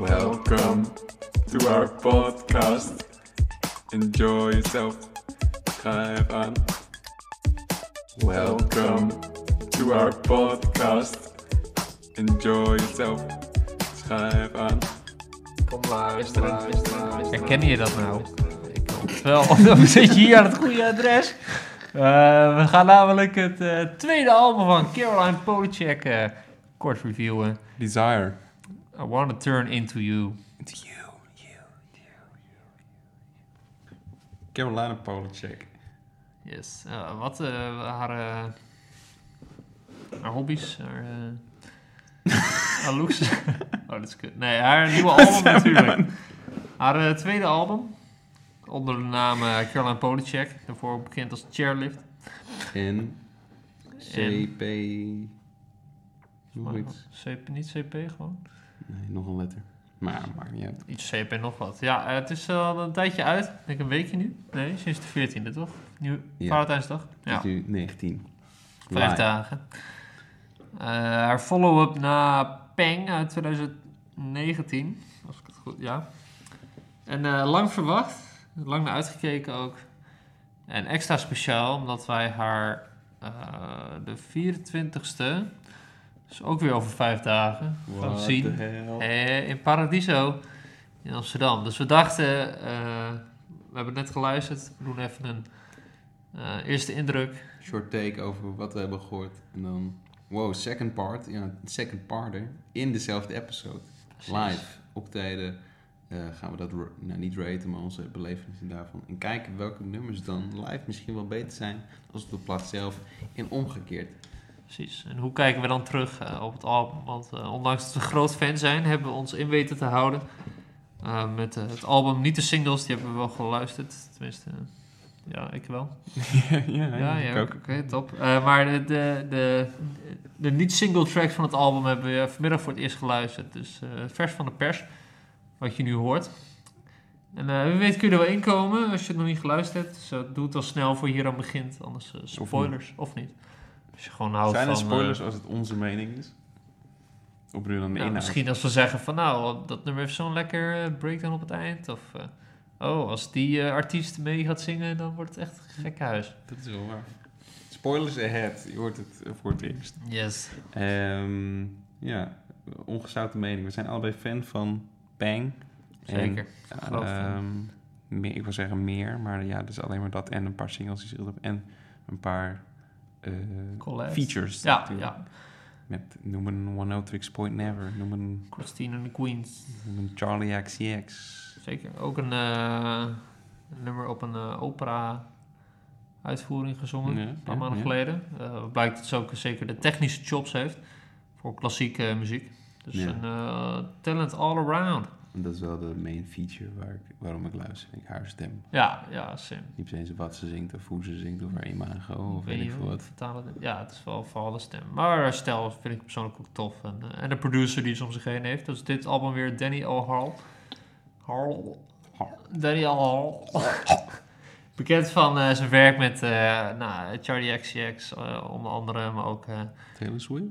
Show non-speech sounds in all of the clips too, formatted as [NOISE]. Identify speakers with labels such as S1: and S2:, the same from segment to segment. S1: Welcome to our podcast. Enjoy yourself. Have fun. Welcome to our podcast. Enjoy yourself. Have fun.
S2: Kom luisteren, luisteren, luisteren.
S3: Herken je dat nou? Ik hoop het wel. [LAUGHS] Dan zit je hier aan het goede adres. Eh, we gaan namelijk het eh, tweede album van Caroline Polachek eh, kort reviewen.
S1: Desire.
S3: I Wanna Turn Into You.
S1: It's you, you, you. Carolina Polachek.
S3: Yes. Eh, wat eh, haar, eh, haar hobby's, haar, eh, [LAUGHS] haar looks. oh, dat is kut. Nee, haar nieuwe album natuurlijk. Haar eh, tweede album. Onder de naam eh, Caroline Polachek. Daarvoor ook bekend als Chairlift.
S1: N. CP. Hoe heet-
S3: CP, niet CP gewoon.
S1: Nee, nog een letter. Maar maakt niet uit.
S3: Iets CP en nog wat. Ja, eh, het is al een tijdje uit. Ik denk een weekje nu. Nee, sinds de 14e toch? Nu,
S1: Ja.
S3: Valentijnsdag.
S1: Het
S3: Ja,
S1: is nu 19.
S3: vijf
S1: Live.
S3: dagen. Eh, haar follow-up na Peng uit 2019. Als ik het goed... Ja. En eh, lang verwacht. Lang naar uitgekeken ook. En extra speciaal, omdat wij haar eh, de 24e... Dus ook weer over vijf dagen. gaan
S1: What
S3: zien.
S1: the hell?
S3: Eh, in Paradiso in Amsterdam. Dus we dachten, eh, we hebben net geluisterd, we doen even een eh, eerste indruk.
S1: short take over wat we hebben gehoord. En dan, wow, second part. Ja, second parter in dezelfde episode. Live optreden. eh, gaan we dat, ra- nou niet raten, maar onze belevenissen daarvan. En kijken welke nummers dan live misschien wel beter zijn als op de plaats zelf. En omgekeerd.
S3: Precies. En hoe kijken we dan terug eh, op het album? Want eh, ondanks dat we groot fan zijn, hebben we ons in weten te houden. eh, met eh, het album, niet de singles, die hebben we wel geluisterd. Tenminste, eh, ja, ik wel.
S1: [LAUGHS] ja,
S3: oké, top. Eh, maar de, de, de, de niet-single tracks van het album hebben we vanmiddag voor het eerst geluisterd. Dus eh, vers van de pers, wat je nu hoort. En eh, wie weet kun je er wel inkomen als je het nog niet geluisterd hebt. Dus eh, doe het al snel voor je aan begint, anders eh, spoilers, of niet. Als je gewoon houdt
S4: Zijn er
S3: van, eh,
S4: spoilers als het onze mening is? Op nu dan de
S3: nou,
S4: inhoud.
S3: misschien als we zeggen van nou, dat nummer heeft zo'n lekker eh, breakdown op het eind. Of eh, oh, als die eh, artiest mee gaat zingen, dan wordt het echt gek huis.
S1: Dat is wel waar. Spoilers ahead, je hoort het eh, voor het eerst.
S3: Yes.
S4: Ehm, ja, ongezouten mening. We zijn allebei fan van Bang.
S3: Zeker.
S4: En,
S3: Groot fan.
S4: ehm, meer, ik wil zeggen meer, maar ja, dus alleen maar dat en een paar singles die ze hebben en een paar eh,
S3: Collabs.
S4: features.
S3: Ja,
S4: natuurlijk.
S3: ja.
S4: Met noem een One No Tricks Point Never, noem een,
S3: Christine and the Queens.
S4: noem een Charlie XCX.
S3: Zeker. Ook een, eh, een nummer op een eh, opera-uitvoering gezongen.
S4: Ja,
S3: een paar
S4: ja,
S3: maanden
S4: ja.
S3: geleden. Eh blijkt dat ze ook zeker de technische chops heeft. Voor klassieke muziek. Dus
S4: Ja.
S3: een eh, talent all around.
S4: En Dat is wel de main feature waar ik, waarom ik luister. Ik haar stem.
S3: Ja, ja, Sim.
S4: Niet per se wat ze zingt of hoe ze zingt of haar imago of Oh, weet ik veel wat.
S3: Vertalen, ja, het is wel vooral de stem. Maar haar stijl vind ik persoonlijk ook tof. En, eh, en de producer die ze om zich heen heeft. Dus dit album weer Danny O'Harl. Harl. Danny O'Harl. [LAUGHS] Bekend van eh, zijn werk met eh nou, Charlie XCX eh, onder andere. Maar ook eh,
S4: Taylor Swift?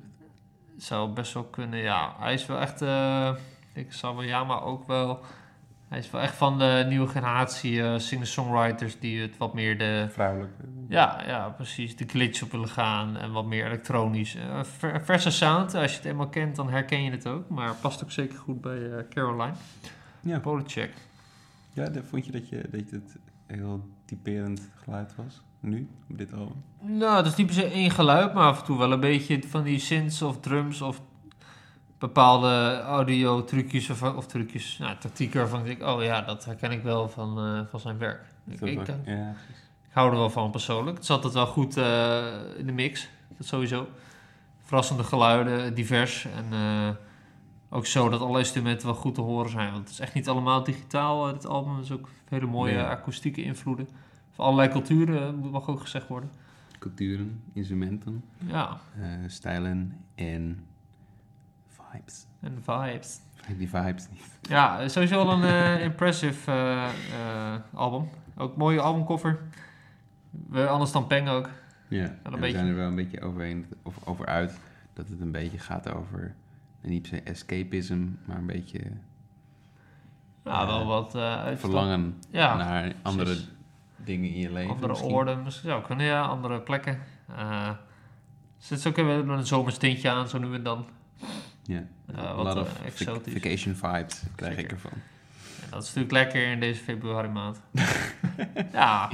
S3: zou best wel kunnen, ja. Hij is wel echt, eh ik zou wel ja, maar ook wel... Hij is wel echt van de nieuwe generatie eh, singer-songwriters die het wat meer de...
S4: Vrouwelijk.
S3: Ja, ja, precies. De glitch op willen gaan en wat meer elektronisch. Eh, ver- verse sound, als je het eenmaal kent, dan herken je het ook. Maar past ook zeker goed bij eh, Caroline.
S4: Ja.
S3: Polacek.
S4: Ja, dan vond je dat, je dat het heel typerend geluid was? Nu, op dit album?
S3: Nou, dat is niet per se één geluid, maar af en toe wel een beetje van die synths of drums of bepaalde audio-trucjes of, of trucjes, nou, tactieken waarvan ik denk, oh ja, dat herken ik wel van, eh, van zijn werk. Ik,
S4: Dat
S3: ik,
S4: ook-
S3: eh,
S4: ja.
S3: Ik hou er wel van persoonlijk. Het zat het wel goed eh, in de mix. Dat sowieso. Verrassende geluiden, divers. En eh, ook zo dat alle instrumenten wel goed te horen zijn. Want het is echt niet allemaal digitaal. eh, dit album Het is ook hele mooie
S4: Nee.
S3: akoestieke invloeden. Van allerlei culturen, eh, mag ook gezegd worden.
S1: Culturen, instrumenten,
S3: Ja,
S4: Eh, stijlen en vibes.
S3: en vibes.
S4: Vergeet Die vibes niet.
S3: Ja, sowieso wel een eh, impressive eh, eh, album. Ook mooie albumkoffer. We, anders dan Peng ook.
S4: Ja,
S3: een
S4: en we
S3: beetje-
S4: zijn er wel een beetje overheen, of over uit, dat het een beetje gaat over, en niet per se escapism, maar een beetje
S3: Ja, wel
S1: Eh,
S3: wat eh uitstap-
S4: Verlangen
S3: Ja,
S1: naar andere dingen in je leven.
S3: andere
S1: misschien.
S3: orde misschien zou kunnen, ja. Andere plekken. Eh zit ze ook even een zomerstintje aan, zo nu en dan.
S1: Ja.
S3: Eh,
S1: A
S3: wat
S1: lot
S3: eh,
S1: of vac-
S3: exotisch.
S1: vacation vibes krijg
S3: Zeker.
S1: ik ervan.
S3: En dat is natuurlijk lekker in deze februari
S1: [LAUGHS]
S3: maand. ja,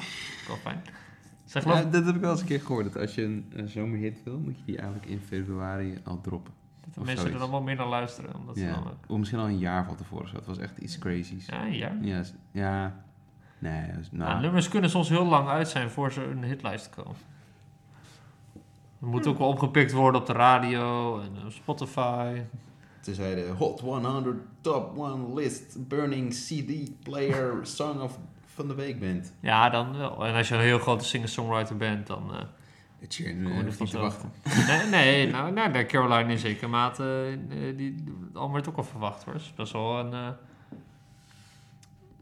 S3: wel fijn. Zeg maar,
S1: Ja, dat heb ik wel eens een keer gehoord. Dat als je een, eh, zomerhit wil, moet je die eigenlijk in februari al droppen.
S3: dat de
S1: of
S3: mensen er
S1: zoiets.
S3: dan wel meer naar luisteren. Omdat ze
S1: Ja.
S3: dan, ook-
S1: Of misschien al een jaar van tevoren. Zo. Het was echt iets crazies.
S3: ja, ja.
S1: Ja. s- ja. Nee, dat is- nou,
S3: Nou, nummers kunnen soms heel lang uit zijn voor ze een hitlijst komen. Het moet ook wel opgepikt worden op de radio en op Spotify.
S1: Tenzij de Hot 100 Top 1 List Burning CD Player [LAUGHS] Song of van de Week bent.
S3: Ja, dan wel. En als je een heel grote singer-songwriter bent, dan eh
S1: Het Sheeran
S3: kom
S1: eh,
S3: je er
S1: hoeft niet te
S3: vanzelf.
S1: wachten.
S3: Nee, nee, nou, nee, nee, Caroline in zekere mate, eh, die, al werd ook al verwacht hoor. Ze is best wel een eh,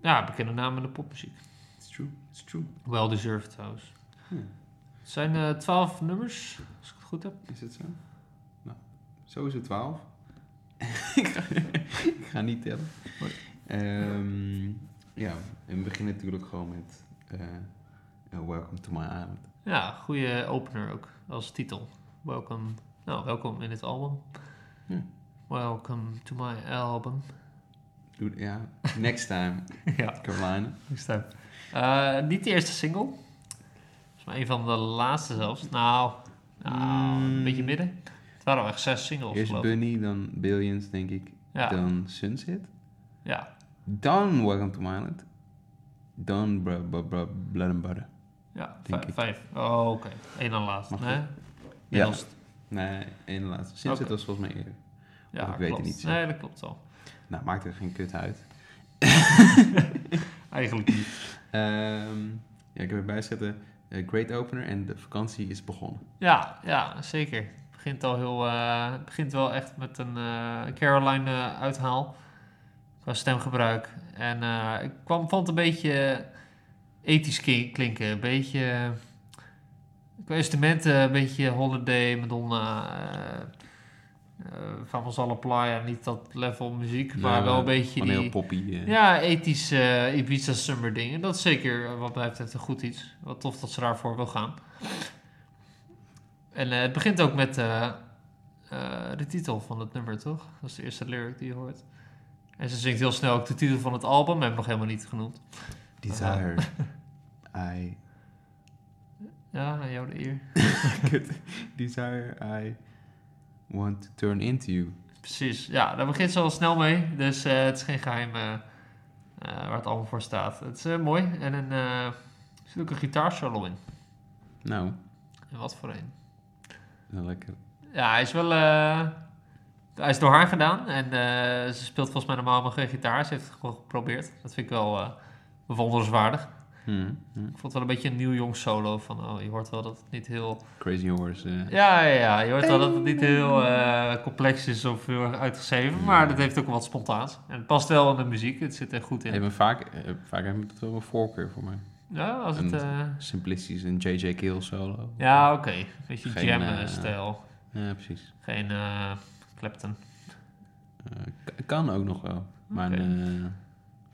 S3: ja, bekende naam in de popmuziek.
S1: It's true, it's true.
S3: Well deserved trouwens.
S1: Hmm.
S3: Het zijn eh, 12 nummers, als ik het goed heb.
S1: Is het zo? Nou, zo is het 12. [LAUGHS] ik, ga, ik ga niet tellen. Ehm, ja, en we beginnen natuurlijk gewoon met eh, eh, Welcome to my island.
S3: Ja, goede opener ook als titel. Welkom, nou, welkom in het album.
S1: Ja.
S3: Welcome to my album.
S1: Doe- Ja, next time,
S3: ja.
S1: Caroline.
S3: Next time. Eh, niet de eerste single. Volgens mij een van de laatste zelfs. Nou, nou, een
S1: Mm.
S3: beetje midden. Het waren al echt zes singles,
S1: Eerst
S3: geloof ik.
S1: Bunny, dan Billions, denk ik.
S3: Ja,
S1: Dan Sunset.
S3: ja,
S1: Dan Welcome to my island. Dan br- br- br- Blood and Butter.
S3: ja vijf.
S1: Denk ik.
S3: vijf. Oh, oké. Eén na laatst.
S1: Mag
S3: nee?
S1: ik?
S3: Ja,
S1: Ja. Nee, één laatste. Sunset
S3: Oké.
S1: was volgens mij eerder.
S3: ja
S1: Of ik
S3: klopt.
S1: weet het niet zeker.
S3: Nee, dat klopt al.
S1: Nou, maakt er geen kut uit.
S3: Eigenlijk niet.
S1: Ehm, ja, ik heb erbij zitten. eh, great opener en de vakantie is begonnen.
S3: Ja, ja, zeker. Het begint al heel... eh, het begint wel echt met een eh, Caroline eh, uithaal. Qua stemgebruik. En eh, ik kwam, vond het een beetje ethisch ki- klinken. Een beetje... eh, Qua instrumenten, een beetje Holiday, Madonna... eh eh, van ons alle playa, niet dat level muziek, maar
S1: Nou,
S3: wel een
S1: eh,
S3: beetje
S1: Van
S3: die...
S1: heel poppy. eh.
S3: Ja, ethisch eh Ibiza Summer ding. En dat is zeker eh, wat mij betreft een goed iets. Wat tof dat ze daarvoor wil gaan. En eh, het begint ook met eh, eh, de titel van het nummer, toch? Dat is de eerste lyric die je hoort. En ze zingt heel snel ook de titel van het album. Hebben we nog helemaal niet genoemd.
S1: Desire.
S3: [LAUGHS]
S1: I. [LAUGHS]
S3: Ja, aan jou de eer.
S1: Kut. Desire. I. Want to turn into you.
S3: Precies, ja, daar begint ze al snel mee. Dus eh, het is geen geheim eh, eh, waar het allemaal voor staat. Het is eh, mooi. En een, eh, er zit ook een gitaarsolo in.
S1: Nou,
S3: En wat voor een.
S1: wel lekker.
S3: Ja, hij is wel. eh, hij is door haar gedaan. En eh, ze speelt volgens mij normaal helemaal geen gitaar. Ze heeft het gewoon geprobeerd. Dat vind ik wel eh bewonderenswaardig.
S1: Hm, hm.
S3: Ik vond het wel een beetje een nieuw jong solo. Van, oh, je hoort wel dat het niet heel.
S1: Crazy Horse. eh.
S3: Ja, ja, ja. Je hoort wel dat het niet heel eh, complex is of heel erg uitgeschreven. Maar dat heeft ook wat spontaans. En het past wel in de muziek. Het zit er goed in.
S1: Hebben vaak, eh, vaak hebben dat wel een voorkeur voor mij.
S3: Ja, als het.
S1: En-
S3: eh,
S1: Simplistisch, een J.J. Kill solo.
S3: ja, oké. Een beetje
S1: Geen, eh,
S3: jam-stijl.
S1: Ja, precies.
S3: Geen eh, Clapton.
S1: Eh, k- kan ook nog wel. Maar
S3: Oké.
S1: eh,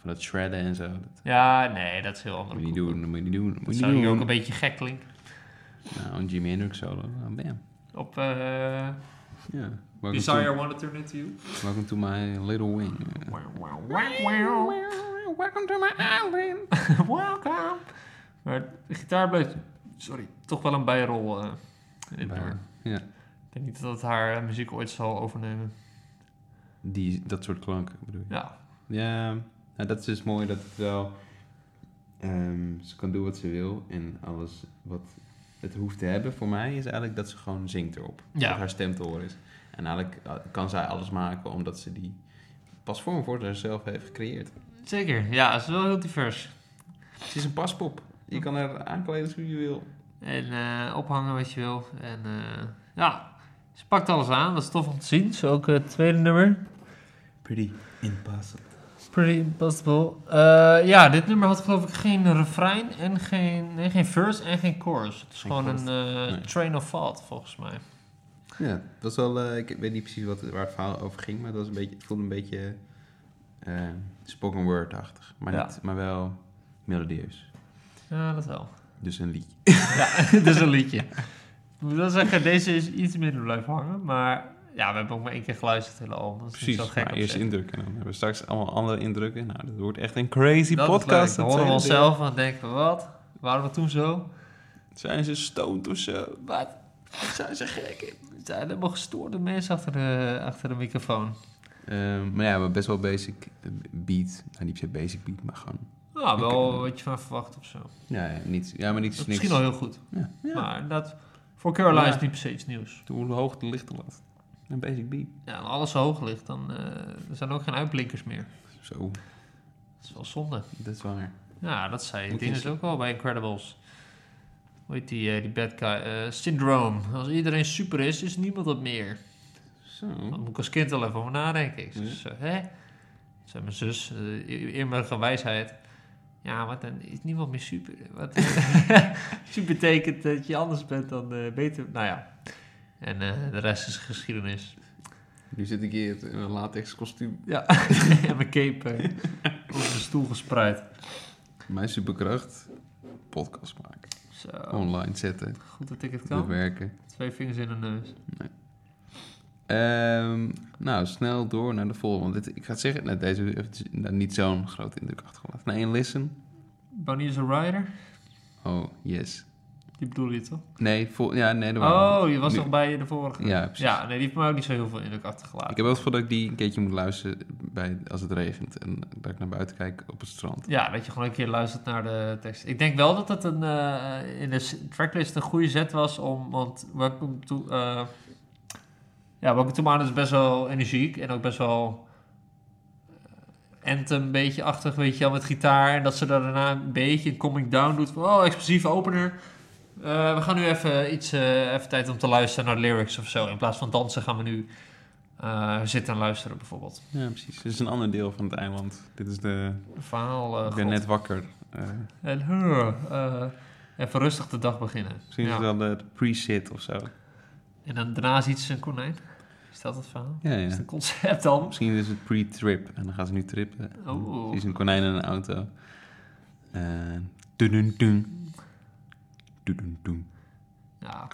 S1: van dat shredden en zo. Dat
S3: Ja, nee, dat is heel
S1: moet
S3: andere
S1: je niet
S3: koek.
S1: doen, dat moet je niet doen. dat
S3: Dat
S1: moet je
S3: zou
S1: niet
S3: hier ook
S1: doen.
S3: een beetje gek klinken.
S1: Nou, een Jimi Hendrix solo. Nou, bam.
S3: Op eh
S1: Ja. Welcome
S3: Desire Wanna Turn Into You.
S1: To, welcome to my little wing. Eh,
S4: Welcome to my island.
S3: Welcome. Maar de gitaar bleef, sorry, toch wel een bijrol eh, in dit
S1: bij-
S3: nummer.
S1: ja.
S3: Ik denk niet dat het haar eh, muziek ooit zal overnemen.
S1: Die, dat soort klanken bedoel je.
S3: Ja,
S1: Ja, nou, dat is dus mooi dat het wel... ehm, ze kan doen wat ze wil en alles wat het hoeft te hebben voor mij is eigenlijk dat ze gewoon zingt erop.
S3: Ja.
S1: Dat haar stem te horen is. En eigenlijk eh, kan zij alles maken omdat ze die pasvorm voor zichzelf heeft gecreëerd.
S3: zeker. Ja, ze is wel heel divers.
S1: Ze is een paspop. Je kan haar aankleden hoe je wil.
S3: En eh, ophangen wat je wil. En eh, ja, ze pakt alles aan. Dat is tof om te zien. Zo ook eh, het tweede nummer.
S1: Pretty impossible.
S3: Pretty Impossible. Eh, ja, dit nummer had geloof ik geen refrein en geen, nee, geen verse en geen chorus. Het is
S1: Geen
S3: gewoon
S1: chorus.
S3: een eh,
S1: Nee.
S3: train of thought volgens mij.
S1: Ja, het was wel, eh, ik weet niet precies wat, waar het verhaal over ging, maar het, was een beetje, het voelde een beetje eh, spoken word-achtig. Maar,
S3: Ja.
S1: niet, maar wel melodieus.
S3: Ja, dat
S4: [LAUGHS]
S3: wel.
S1: Dus een liedje.
S3: Ja, dit is een liedje. [LAUGHS] Ik moet wel zeggen, deze is iets minder blijven hangen. Maar ja, we hebben ook maar één keer geluisterd het hele album. Dat is
S4: Precies,
S3: niet zo gek
S4: maar
S3: op
S4: eerst
S3: zich.
S4: indrukken. En dan hebben we straks allemaal andere indrukken. Nou, dat wordt echt een crazy
S3: Dat is leuk.
S4: podcast.
S3: Dan
S4: dat
S3: horen we
S4: tweede deel.
S3: onszelf en denken we, wat? Waren we toen zo?
S4: Zijn ze stoned of zo?
S3: Wat? Zijn ze gek? Zijn er helemaal gestoorde mensen achter de, achter de microfoon?
S1: Ehm, maar ja, we hebben best wel basic eh, beat. Nou, niet per se basic beat, maar gewoon...
S3: Nou,
S1: Oké.
S3: wel wat je van verwacht of zo. Dat
S1: Ja, ja, niet, ja maar niets,
S3: is
S1: niks...
S3: misschien al heel goed.
S1: Ja.
S3: Maar dat, voor Caroline
S4: Ja.
S3: is niet per se iets nieuws.
S4: Hoe hoog de licht lat? Een basic beat.
S3: Ja, en alles zo hoog ligt, dan eh, er zijn ook geen uitblinkers meer.
S1: Zo,
S3: Dat is wel zonde.
S1: dat is waar.
S3: Ja, Nou, dat zei
S1: Moet
S3: Ding
S1: je-
S3: is ook wel bij Incredibles. Hoe heet die, eh, die bad guy? eh syndroom. Als iedereen super is, is niemand dat meer.
S1: Zo.
S3: Daar moet ik als kind al even over nadenken. Ik zei, zo, hè? zei mijn zus, eh, eer- eerbare wijsheid. Ja, wat dan is niemand meer super. Wat, eh, [LAUGHS] super betekent dat je anders bent dan eh, beter. Nou ja. En eh, de rest is geschiedenis.
S1: Nu zit ik hier in een latex kostuum.
S3: Ja, [LAUGHS] en mijn cape eh, op de stoel gespreid.
S1: Mijn superkracht, podcast maken.
S3: Zo,
S1: Online zetten,
S3: goed dat ik het
S1: Oh. dat
S3: kan.
S1: werken.
S3: Twee vingers in de neus.
S1: Ehm, nou, snel door naar de volgende. Want dit, ik ga het zeggen, nou, deze heeft nou, niet zo'n grote indruk achtergelaten. Nee, een listen.
S3: Bunny is a rider?
S1: Oh, yes.
S3: Die bedoel je toch?
S1: Nee, vol, ja, nee, er waren-
S3: Oh, je was
S1: nu-
S3: nog bij de vorige.
S1: Ja, precies.
S3: Ja, nee, die heeft mij ook niet zo heel veel indruk
S1: Ik
S3: achtergelaten.
S1: heb wel het gevoel dat ik die een keertje moet luisteren bij, als het regent. En dat ik naar buiten kijk op het strand.
S3: Ja, dat je gewoon een keer luistert naar de tekst. Ik denk wel dat het een, eh, in de s- tracklist een goede zet was om, want Welcome to, eh ja, Welcome to Maan is best wel energiek en ook best wel eh, anthem beetje achtig, weet je wel, met gitaar. En dat ze daar daarna een beetje een coming down doet van, oh, explosieve opener. Eh, we gaan nu even iets, eh, even tijd om te luisteren naar de lyrics of zo. In plaats van dansen gaan we nu eh, zitten en luisteren bijvoorbeeld.
S4: Ja, precies. Dit is een ander deel van het eiland. Dit is de...
S3: Een verhaal. eh,
S4: ik ben
S3: god.
S4: net wakker. Eh,
S3: En huh, eh, even rustig de dag beginnen.
S4: misschien is
S3: Ja.
S4: het wel de, de pre-sit of zo.
S3: En dan daarna ziet ze een konijn. Is dat het verhaal?
S1: Ja,
S3: Is
S1: ja.
S3: het een concept dan?
S1: Misschien is het pre-trip. En dan gaan ze nu trippen.
S3: Oh.
S1: Ze is een konijn in een auto.
S4: Eh,
S1: En... Dun dun dun. dun.
S3: Ja,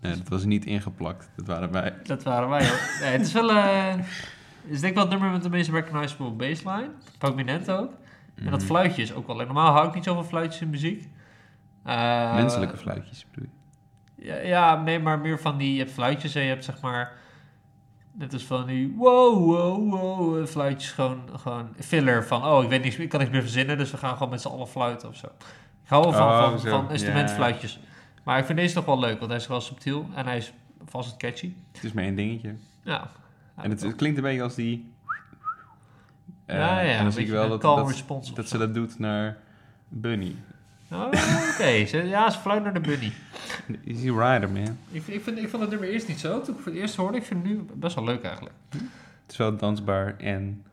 S1: Nee, dat was niet ingeplakt. Dat waren wij.
S3: dat waren wij. hoor. nee, het is wel... eh, het is denk ik wel het nummer met de meest recognizable baseline. Prominent ook. En dat
S1: Mhm.
S3: fluitje is ook wel... leuk. Normaal hou ik niet zoveel fluitjes in muziek. Eh,
S1: Menselijke fluitjes bedoel je?
S3: Ja, ja, nee, maar meer van die... Je hebt fluitjes en je hebt zeg maar... Net als van die wow, wow, wow, eh, fluitjes. Gewoon, gewoon filler van, oh, ik weet niks meer, ik kan niks meer verzinnen, dus we gaan gewoon met z'n allen fluiten of zo. Ik hou wel van,
S4: Oh,
S3: van,
S4: zo,
S3: van
S4: ja.
S3: instrumentfluitjes. Maar ik vind deze toch wel leuk, want hij is wel subtiel en hij is vast catchy.
S4: Het is maar één dingetje.
S3: Ja.
S4: En het, het klinkt een beetje als die... Eh,
S3: ja, ja,
S4: en dan
S3: een
S4: zie ik
S3: beetje
S4: wel
S3: een
S4: dat,
S3: calm
S4: dat,
S3: response.
S4: dat ze dat doet naar Bunny.
S3: Oh, Oké, ze- ja, ze fluit naar de bunny.
S4: Is die rider, man.
S3: Ik, vind- ik, vind, ik vond het nummer eerst niet zo, toen ik het voor het eerst hoorde, ik vind het nu best wel leuk eigenlijk.
S4: Het is wel dansbaar en...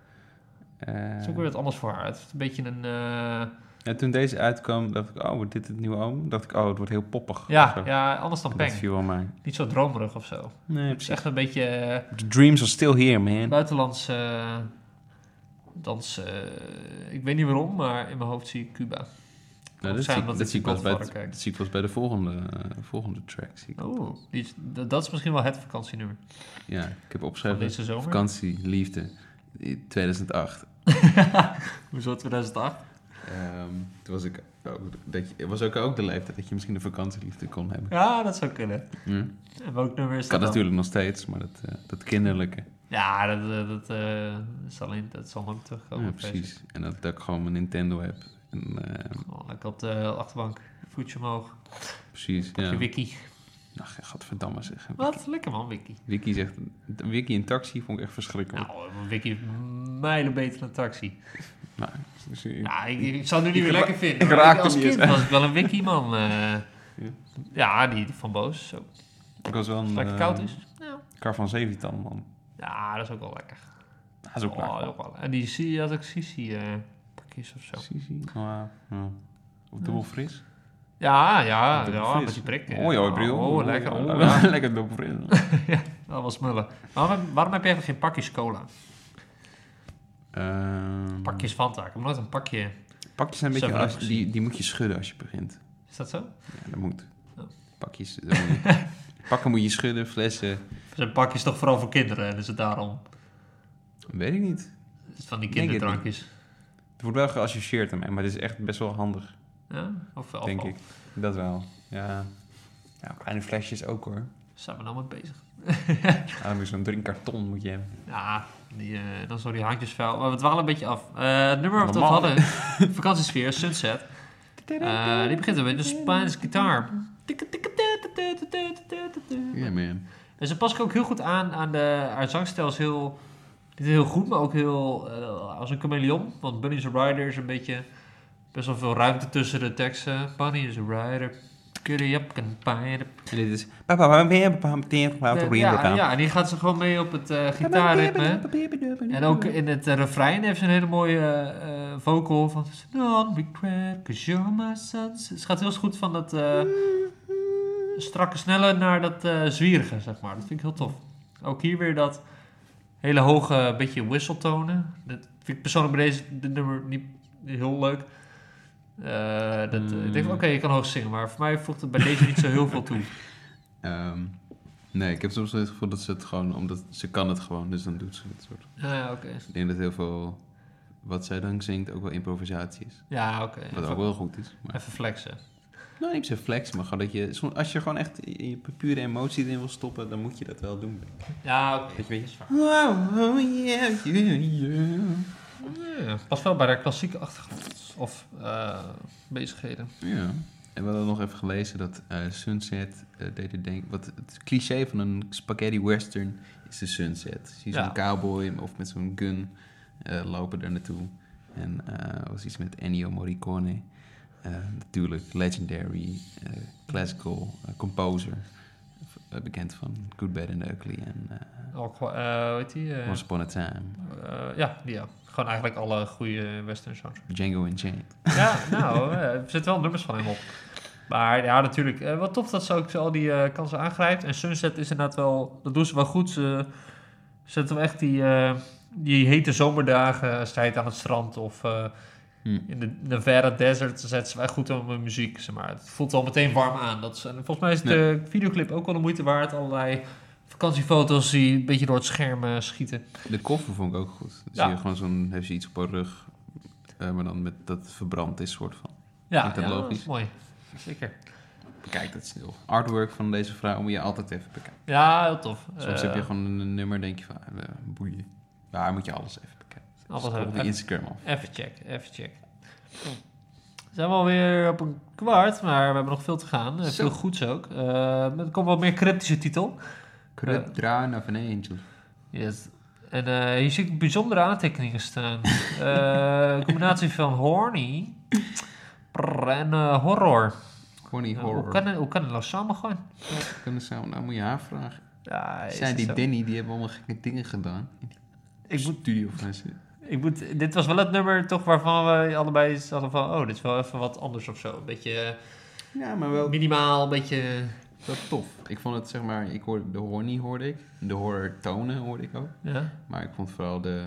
S4: eh,
S3: Het is ook weer wat anders voor haar. Het is een beetje een... eh,
S4: ja, toen deze uitkwam, dacht ik, oh, wordt dit het nieuwe album? Dacht ik, oh, het wordt heel poppig. of
S3: ja,
S1: eh,
S4: zo.
S3: ja, anders dan
S4: Dat
S3: Peng.
S4: viel wel mij.
S3: Niet zo dromerig of zo. Het
S4: Nee,
S3: is echt een beetje... eh,
S4: The dreams are still here, man.
S3: Buitenlandse eh, dans. eh, ik weet niet waarom, maar in mijn hoofd zie ik Cuba.
S1: Nou,
S3: Of
S1: dat zie
S3: zijn
S1: ik-
S3: omdat
S1: dat
S3: ik
S1: zie ik
S3: die
S1: pas bij
S3: Godfather
S1: het-
S3: kijk.
S1: dat zie ik pas bij de volgende, eh, volgende track. zie ik.
S3: Oh. Die is, dat, dat is misschien wel het vakantienummer
S1: Ja, ik heb
S3: van
S1: opgeschreven
S3: deze zomer.
S1: vakantie, liefde, eh, 2008.
S3: Hoezo 2008?
S1: Ehm, toen was ik ook, dat je, het was ook, ook de leeftijd dat je misschien een vakantieliefde kon hebben.
S3: Ja, dat zou kunnen.
S1: Hm?
S3: En welk nummer is
S1: Kan
S3: dat dan?
S1: natuurlijk nog steeds, maar dat, eh, dat kinderlijke.
S3: Ja, dat, eh, dat, eh, is alleen, dat zal nooit terugkomen.
S1: Ja,
S3: vrees ik.
S1: precies. En dat, dat ik gewoon mijn Nintendo heb. En, eh,
S3: Gewoon Oh, lekker op de achterbank. Voetje omhoog.
S1: precies, ja.
S3: Je wiki.
S1: Nou, gadverdamme zeg.
S3: Wat? Lekker man, wiki.
S1: Wiki zegt, Wiki in taxi vond ik echt verschrikkelijk.
S3: Nou, een wiki is mijlen beter dan taxi.
S1: Nou, dus, eh,
S3: Ja, ik, ik zou het nu
S4: Ik
S3: niet meer
S4: ra-
S3: lekker vinden.
S4: ik
S3: maar
S4: raakte
S3: als
S4: hem
S3: kind
S4: niet eens.
S3: was ik wel een wiki man. eh.
S4: Ja.
S3: ja, die van Boos. Zo.
S4: Ik was wel een...
S3: Lekker
S4: eh,
S3: koud dus. is. Ja.
S4: Kar van Zeventan, man.
S3: ja, dat is ook wel lekker.
S4: Dat is ook
S3: Oh,
S4: waar.
S3: dat is ook wel- En die zie je als ik Sisi eh pakjes of zo.
S1: Sisi.
S4: Maar, ja. Of dubbel fris.
S3: Ja, ja,
S4: Dubbel
S3: ja
S4: fris.
S3: met die prikken.
S4: Mooi hoor, Brio.
S3: Oh, lekker.
S4: Ja, [LAUGHS]
S3: Oh,
S4: le-
S3: ja. [LAUGHS]
S4: Lekker dubbel fris.
S3: Dat was smullen. Waarom, waarom heb je eigenlijk geen pakjes cola?
S4: Ehm,
S3: Pakjes Fanta. Ik heb nooit een pakje.
S4: pakjes zijn een beetje...
S3: Seven
S4: als-
S3: Up.
S4: die, die moet je schudden als je begint.
S3: Is dat zo?
S4: Ja, dat moet.
S3: Oh.
S4: Pakjes... dat moet
S3: [LAUGHS]
S4: je- Pakken moet je schudden, flessen...
S3: Zijn pakjes toch vooral voor kinderen en is het daarom?
S4: Weet ik niet.
S3: Is het van die
S4: Ik denk het
S3: kinderdrankjes?
S4: Het wordt wel geassocieerd aan mij, maar het is echt best wel handig,
S3: Ja? Of afval?
S4: denk ik. Dat wel. Ja. ja, kleine flesjes ook hoor.
S3: Zijn we nou mee bezig?
S4: Ja, dan moet je zo'n Ah, dus drinkkarton moet je hebben.
S3: Ja, die, eh, dan zo die haantjes vuil. Maar we dwalen een beetje af. Eh, het nummer wat we
S4: Normaal.
S3: hadden, [LAUGHS] vakantiesfeer, Sunset. Eh, die begint met een Spaanse gitaar.
S1: Ja, man.
S3: En ze passen Dus ook heel goed aan aan de haar zangstijl is heel niet heel goed, maar ook heel eh, als een chameleon. Want Bunny is a rider is een beetje best wel veel ruimte tussen de teksten. Bunny is a rider. Kitty up can find it.
S4: En dit is... Ja,
S3: Ja, ja, en die gaat ze gewoon mee op het eh gitaarritme. En ook in het eh, refrein heeft ze een hele mooie eh, eh, vocal van Don't regret, cause you're my sunset. Ze gaat heel goed van dat eh, strakke snelle naar dat eh, zwierige, zeg maar. Dat vind ik heel tof. Ook hier weer dat hele hoge beetje wisseltonen. Dat vind ik persoonlijk bij deze dit nummer niet heel leuk. Eh, dat, eh, Ik
S1: Hmm.
S3: denk, van, oké, je kan hoog zingen, maar voor mij voegt het bij deze niet zo heel veel
S1: [LAUGHS]
S3: toe.
S1: Ehm, nee, ik heb soms wel het gevoel dat ze het gewoon... Omdat ze kan het gewoon, dus dan doet ze het soort.
S3: Ja, ja, oké.
S1: Ik denk dat heel veel... Wat zij dan zingt ook wel improvisatie is.
S3: Ja, oké.
S1: Wat ook
S3: Even,
S1: wel goed is. Maar...
S3: even flexen.
S1: Nou, niet zo'n flex, maar gewoon dat je... soms- Als je gewoon echt je je pure emotie erin wil stoppen, dan moet je dat wel doen.
S3: Ja, oké.
S1: Weet je, weet
S3: is waar.
S1: Wow, oh yeah, yeah, yeah.
S3: Ja, past wel bij haar klassieke achtergrond of eh, bezigheden.
S1: Ja. En we hadden nog even gelezen dat eh, Sunset eh, deed het denken... Wat het cliché van een spaghetti western is de Sunset. Zie je
S3: Ja.
S1: zo'n cowboy of met zo'n gun eh, lopen daar naartoe. En eh, er was iets met Ennio Morricone. Eh, natuurlijk, legendary, eh, classical eh, composer. Eh, bekend van Good, Bad and Ugly en eh,
S3: Ook, eh, hoe heet die? eh,
S1: Once Upon a Time.
S3: eh, ja, die ja. Gewoon eigenlijk alle goede western songs.
S1: Django Unchained.
S3: ja, nou, eh, er zitten wel nummers van hem op. Maar ja, natuurlijk. eh, wat tof dat ze ook zo al die eh, kansen aangrijpt. En Sunset is inderdaad wel... Dat doen ze wel goed. Ze zetten wel echt die, eh, die hete zomerdagen... eh, strijd aan het strand of... eh,
S1: Hm.
S3: In de Nevada Desert zetten ze wel echt goed om hun muziek, zeg maar. Het voelt al meteen warm aan. Dat is, en volgens mij is de videoclip ook wel de moeite waard. Allerlei vakantiefoto's die een beetje door het scherm eh, schieten.
S1: De koffer vond ik ook goed. Dan
S3: Ja.
S1: zie je gewoon zo'n... Heeft ze iets op haar rug, eh, maar dan met dat het verbrand is soort van.
S3: Ja,
S1: Vind ik dat
S3: ja,
S1: logisch?
S3: is mooi. Zeker.
S1: Bekijk dat snel. Artwork van deze vrouw moet je altijd even bekijken.
S3: Ja, heel tof.
S1: Soms
S3: Eh,
S1: heb je gewoon een, nummer, denk je van, eh, boeien. Daar moet je alles even bekijken.
S3: Alles
S1: Dus
S3: even-
S1: op de Instagram af.
S3: Even check, even check. Zijn we alweer op een kwart, maar we hebben nog veel te gaan. Eh,
S1: Zo.
S3: Veel goeds ook. Eh, er komt wat meer cryptische titel.
S1: Kruip draaien of een angel.
S3: Yes. En eh, hier zie ik bijzondere aantekeningen
S1: [LAUGHS]
S3: staan. Eh, een combinatie van horny prrr, en eh, horror.
S1: Gewoon die
S3: Eh, Hoe
S1: horror.
S3: kan, het- hoe kan het nou samen gaan?
S1: Kunnen ze, nou moet je haar vragen.
S3: Ja, is
S1: Zij
S3: het
S1: die
S3: zo?
S1: Danny, die hebben allemaal gekke dingen gedaan.
S3: ik, moet,
S1: Studio van ze.
S3: ik moet, dit was wel het nummer toch waarvan we allebei hadden van... Oh, dit is wel even wat anders of zo. Een beetje eh,
S1: Ja, maar wel,
S3: minimaal, een beetje...
S1: wel tof. Ik vond het, zeg maar, ik hoorde, de horny hoorde ik. De horror tonen hoorde ik ook.
S3: Ja.
S1: Maar ik vond vooral de...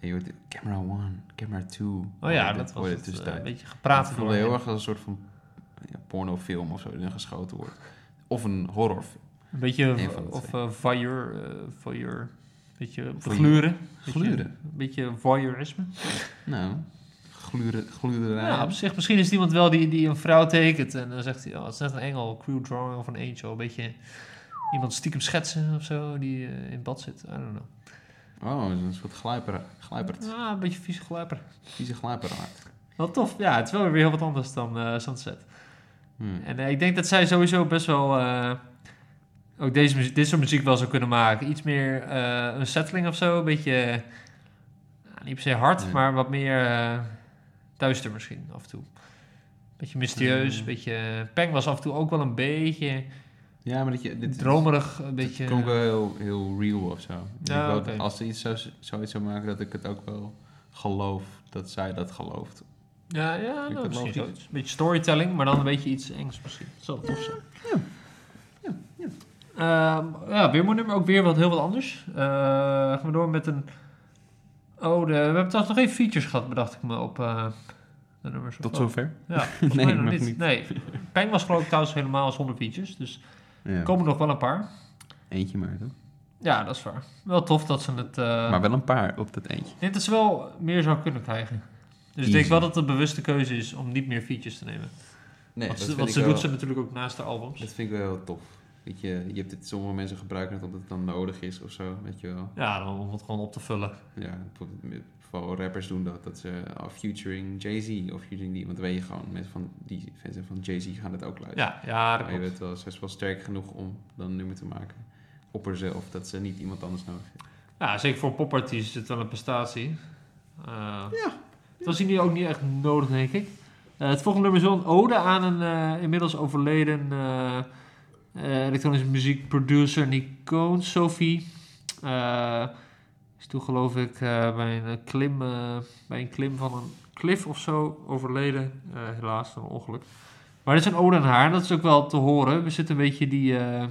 S1: Je hoort de camera one, camera two.
S3: Oh ja, dat was
S1: hoorde dus
S3: het,
S1: tussen
S3: eh,
S1: tijd.
S3: een beetje gepraat.
S1: Het voelde heel erg als een soort van ja, pornofilm of zo die dan geschoten wordt. Of een horrorfilm.
S3: Een beetje
S1: Een van de
S3: of
S1: twee.
S3: eh voyeur, eh voyeur. beetje
S1: Voyeur.
S3: gluren.
S1: Gluren.
S3: Een beetje voyeurisme.
S1: Nou, gluren, gluren
S3: Ja, op zich, misschien is het iemand wel die, die een vrouw tekent en dan zegt hij, oh, het is net een engel, crew drawing of een angel. Een beetje iemand stiekem schetsen of zo, die eh, in bad zit. I don't know.
S1: Oh, dat is een soort glijper, glijpert.
S3: Ah, een beetje vieze gluiper.
S1: Vieze glijperaard.
S3: Wel tof. Ja, het is wel weer heel wat anders dan eh, Sunset.
S1: Hm.
S3: En eh, ik denk dat zij sowieso best wel eh, ook deze muziek, dit soort muziek wel zou kunnen maken. Iets meer eh, een settling of zo. Een beetje, eh, nou, niet per se hard,
S1: Nee.
S3: maar wat meer eh, duister misschien af en toe. Beetje mysterieus,
S1: Mm.
S3: beetje... Peng was af en toe ook wel een beetje
S1: Ja, maar dat je... Dit,
S3: dromerig, een
S1: dit
S3: beetje... eh,
S1: klonk wel heel, heel real of zo. Ik
S3: Ja,
S1: wou-
S3: oké.
S1: Als ze iets zou, zoiets zou maken, dat ik het ook wel geloof dat zij dat gelooft.
S3: Ja, ja
S1: Vind ik
S3: nou,
S1: dat
S3: misschien
S1: logisch.
S3: zoiets. Een beetje storytelling, maar dan een beetje iets engs misschien. Dat zou wel tof zijn.
S1: Ja,
S3: Ehm ja, weer mooi nummer, ook weer wat heel wat anders. Eh, gaan we door met een ode. We hebben trouwens nog geen features gehad, bedacht ik me, op eh, de nummers. of
S4: Tot
S3: wat.
S4: zover.
S3: Ja,
S4: [LAUGHS]
S3: volgens
S4: Nee,
S3: mij nog
S4: nog
S3: niet.
S4: niet.
S3: Nee, Pijn was geloof ik trouwens helemaal zonder features, dus
S1: Ja.
S3: er komen nog wel een paar.
S1: Eentje maar, toch?
S3: Ja, dat is waar. Wel tof dat ze het... eh,
S4: Maar wel een paar op dat eentje.
S3: Dit is wel meer zou kunnen krijgen. Dus ik denk
S1: Easy.
S3: wel dat het een bewuste keuze is om niet meer features te nemen.
S1: Nee,
S3: want
S1: dat
S3: ze,
S1: vind
S3: want
S1: ik
S3: ze
S1: wel-
S3: doet ze natuurlijk ook naast de albums.
S1: Dat vind ik wel heel tof. Weet je, je hebt dit, sommige mensen gebruiken het omdat het dan nodig is of zo, weet je wel.
S3: Ja, dan om het gewoon op te vullen.
S1: Ja, bijvoorbeeld- vooral rappers doen dat, dat ze oh, featuring Jay-Z of featuring die, want dan weet je gewoon, mensen van die fans van Jay-Z gaan het ook luisteren.
S3: Ja, ja dat
S1: Maar je
S3: klopt.
S1: bent wel, ze is wel sterk genoeg om dan een nummer te maken op haarzelf, dat ze niet iemand anders nodig heeft.
S3: Ja, zeker voor een popartiest is het wel een prestatie. Eh, Het was hier nu ook niet echt nodig, denk ik. Eh, het volgende nummer is wel een ode aan een eh, inmiddels overleden eh, eh, elektronische muziekproducer en icoon, Sophie. Eh, is toen geloof ik eh, bij, een eh, klim, eh, bij een klim van een klif of zo overleden. Eh, helaas, een ongeluk. Maar dit is een ode aan haar, dat is ook wel te horen. We zitten een beetje die, eh,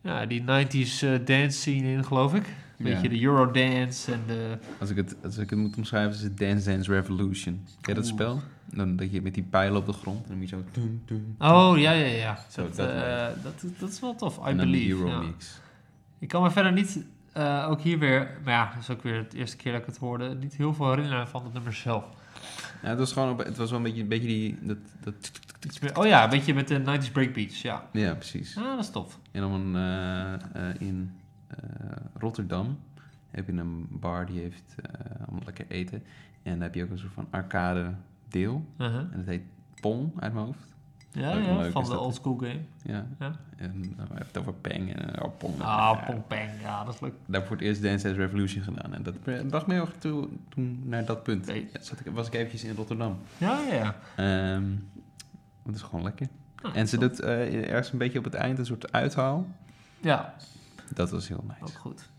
S3: ja, die 90s eh, dance scene in, geloof ik. Een beetje de Eurodance en de...
S4: Als ik, het, als ik het moet omschrijven, is het Dance Dance Revolution. Ken je dat
S3: Oeh.
S4: spel? Dan, dat je met die pijlen op de grond.
S1: En dan moet je zo doen, doen.
S3: Oh, ja, ja, ja.
S1: Zo,
S3: dat,
S1: dat
S3: eh,
S1: werkt.
S3: dat, dat is wel tof. I
S4: en dan die
S3: believe. ja.
S4: Euromix.
S3: Ik kan me verder niet, eh, ook hier weer, maar ja, dat is ook weer de eerste keer dat ik het hoorde, niet heel veel herinneren van het nummer zelf.
S4: Ja, het was gewoon op, het was wel een beetje, een beetje die, dat, dat,
S3: Iets meer, oh ja, een beetje met de 90s breakbeats, ja.
S4: ja precies.
S3: Ah, dat is tof.
S4: En dan een, eh, eh, in eh, Rotterdam heb je een bar die heeft eh allemaal lekker eten. En daar heb je ook een soort van arcade deel.
S3: Uh-huh.
S4: En dat heet Pong uit mijn hoofd.
S3: Ja,
S4: Leuk,
S3: ja,
S4: leuk
S3: van
S4: is
S3: de
S4: dat, hè?
S3: oldschool game.
S4: Ja.
S3: Ja.
S4: En dan hebben we het over Peng en eh, oh, Pong.
S3: Ah,
S4: Ja.
S3: pong pong, ja, dat is leuk.
S4: Daar heb ik voor het eerst Dance Dance Revolution gedaan. En dat bracht mij heel erg toe, toen naar dat punt.
S3: Oké.
S4: Ja, zat ik, was ik eventjes in Rotterdam.
S3: Ja, ja, ja.
S4: Ehm, dat is gewoon lekker.
S3: Ah,
S4: en ze
S3: tof.
S4: doet eh, ergens een beetje op het eind een soort uithaal.
S3: Ja,
S4: Dat was heel nice.
S3: ook goed.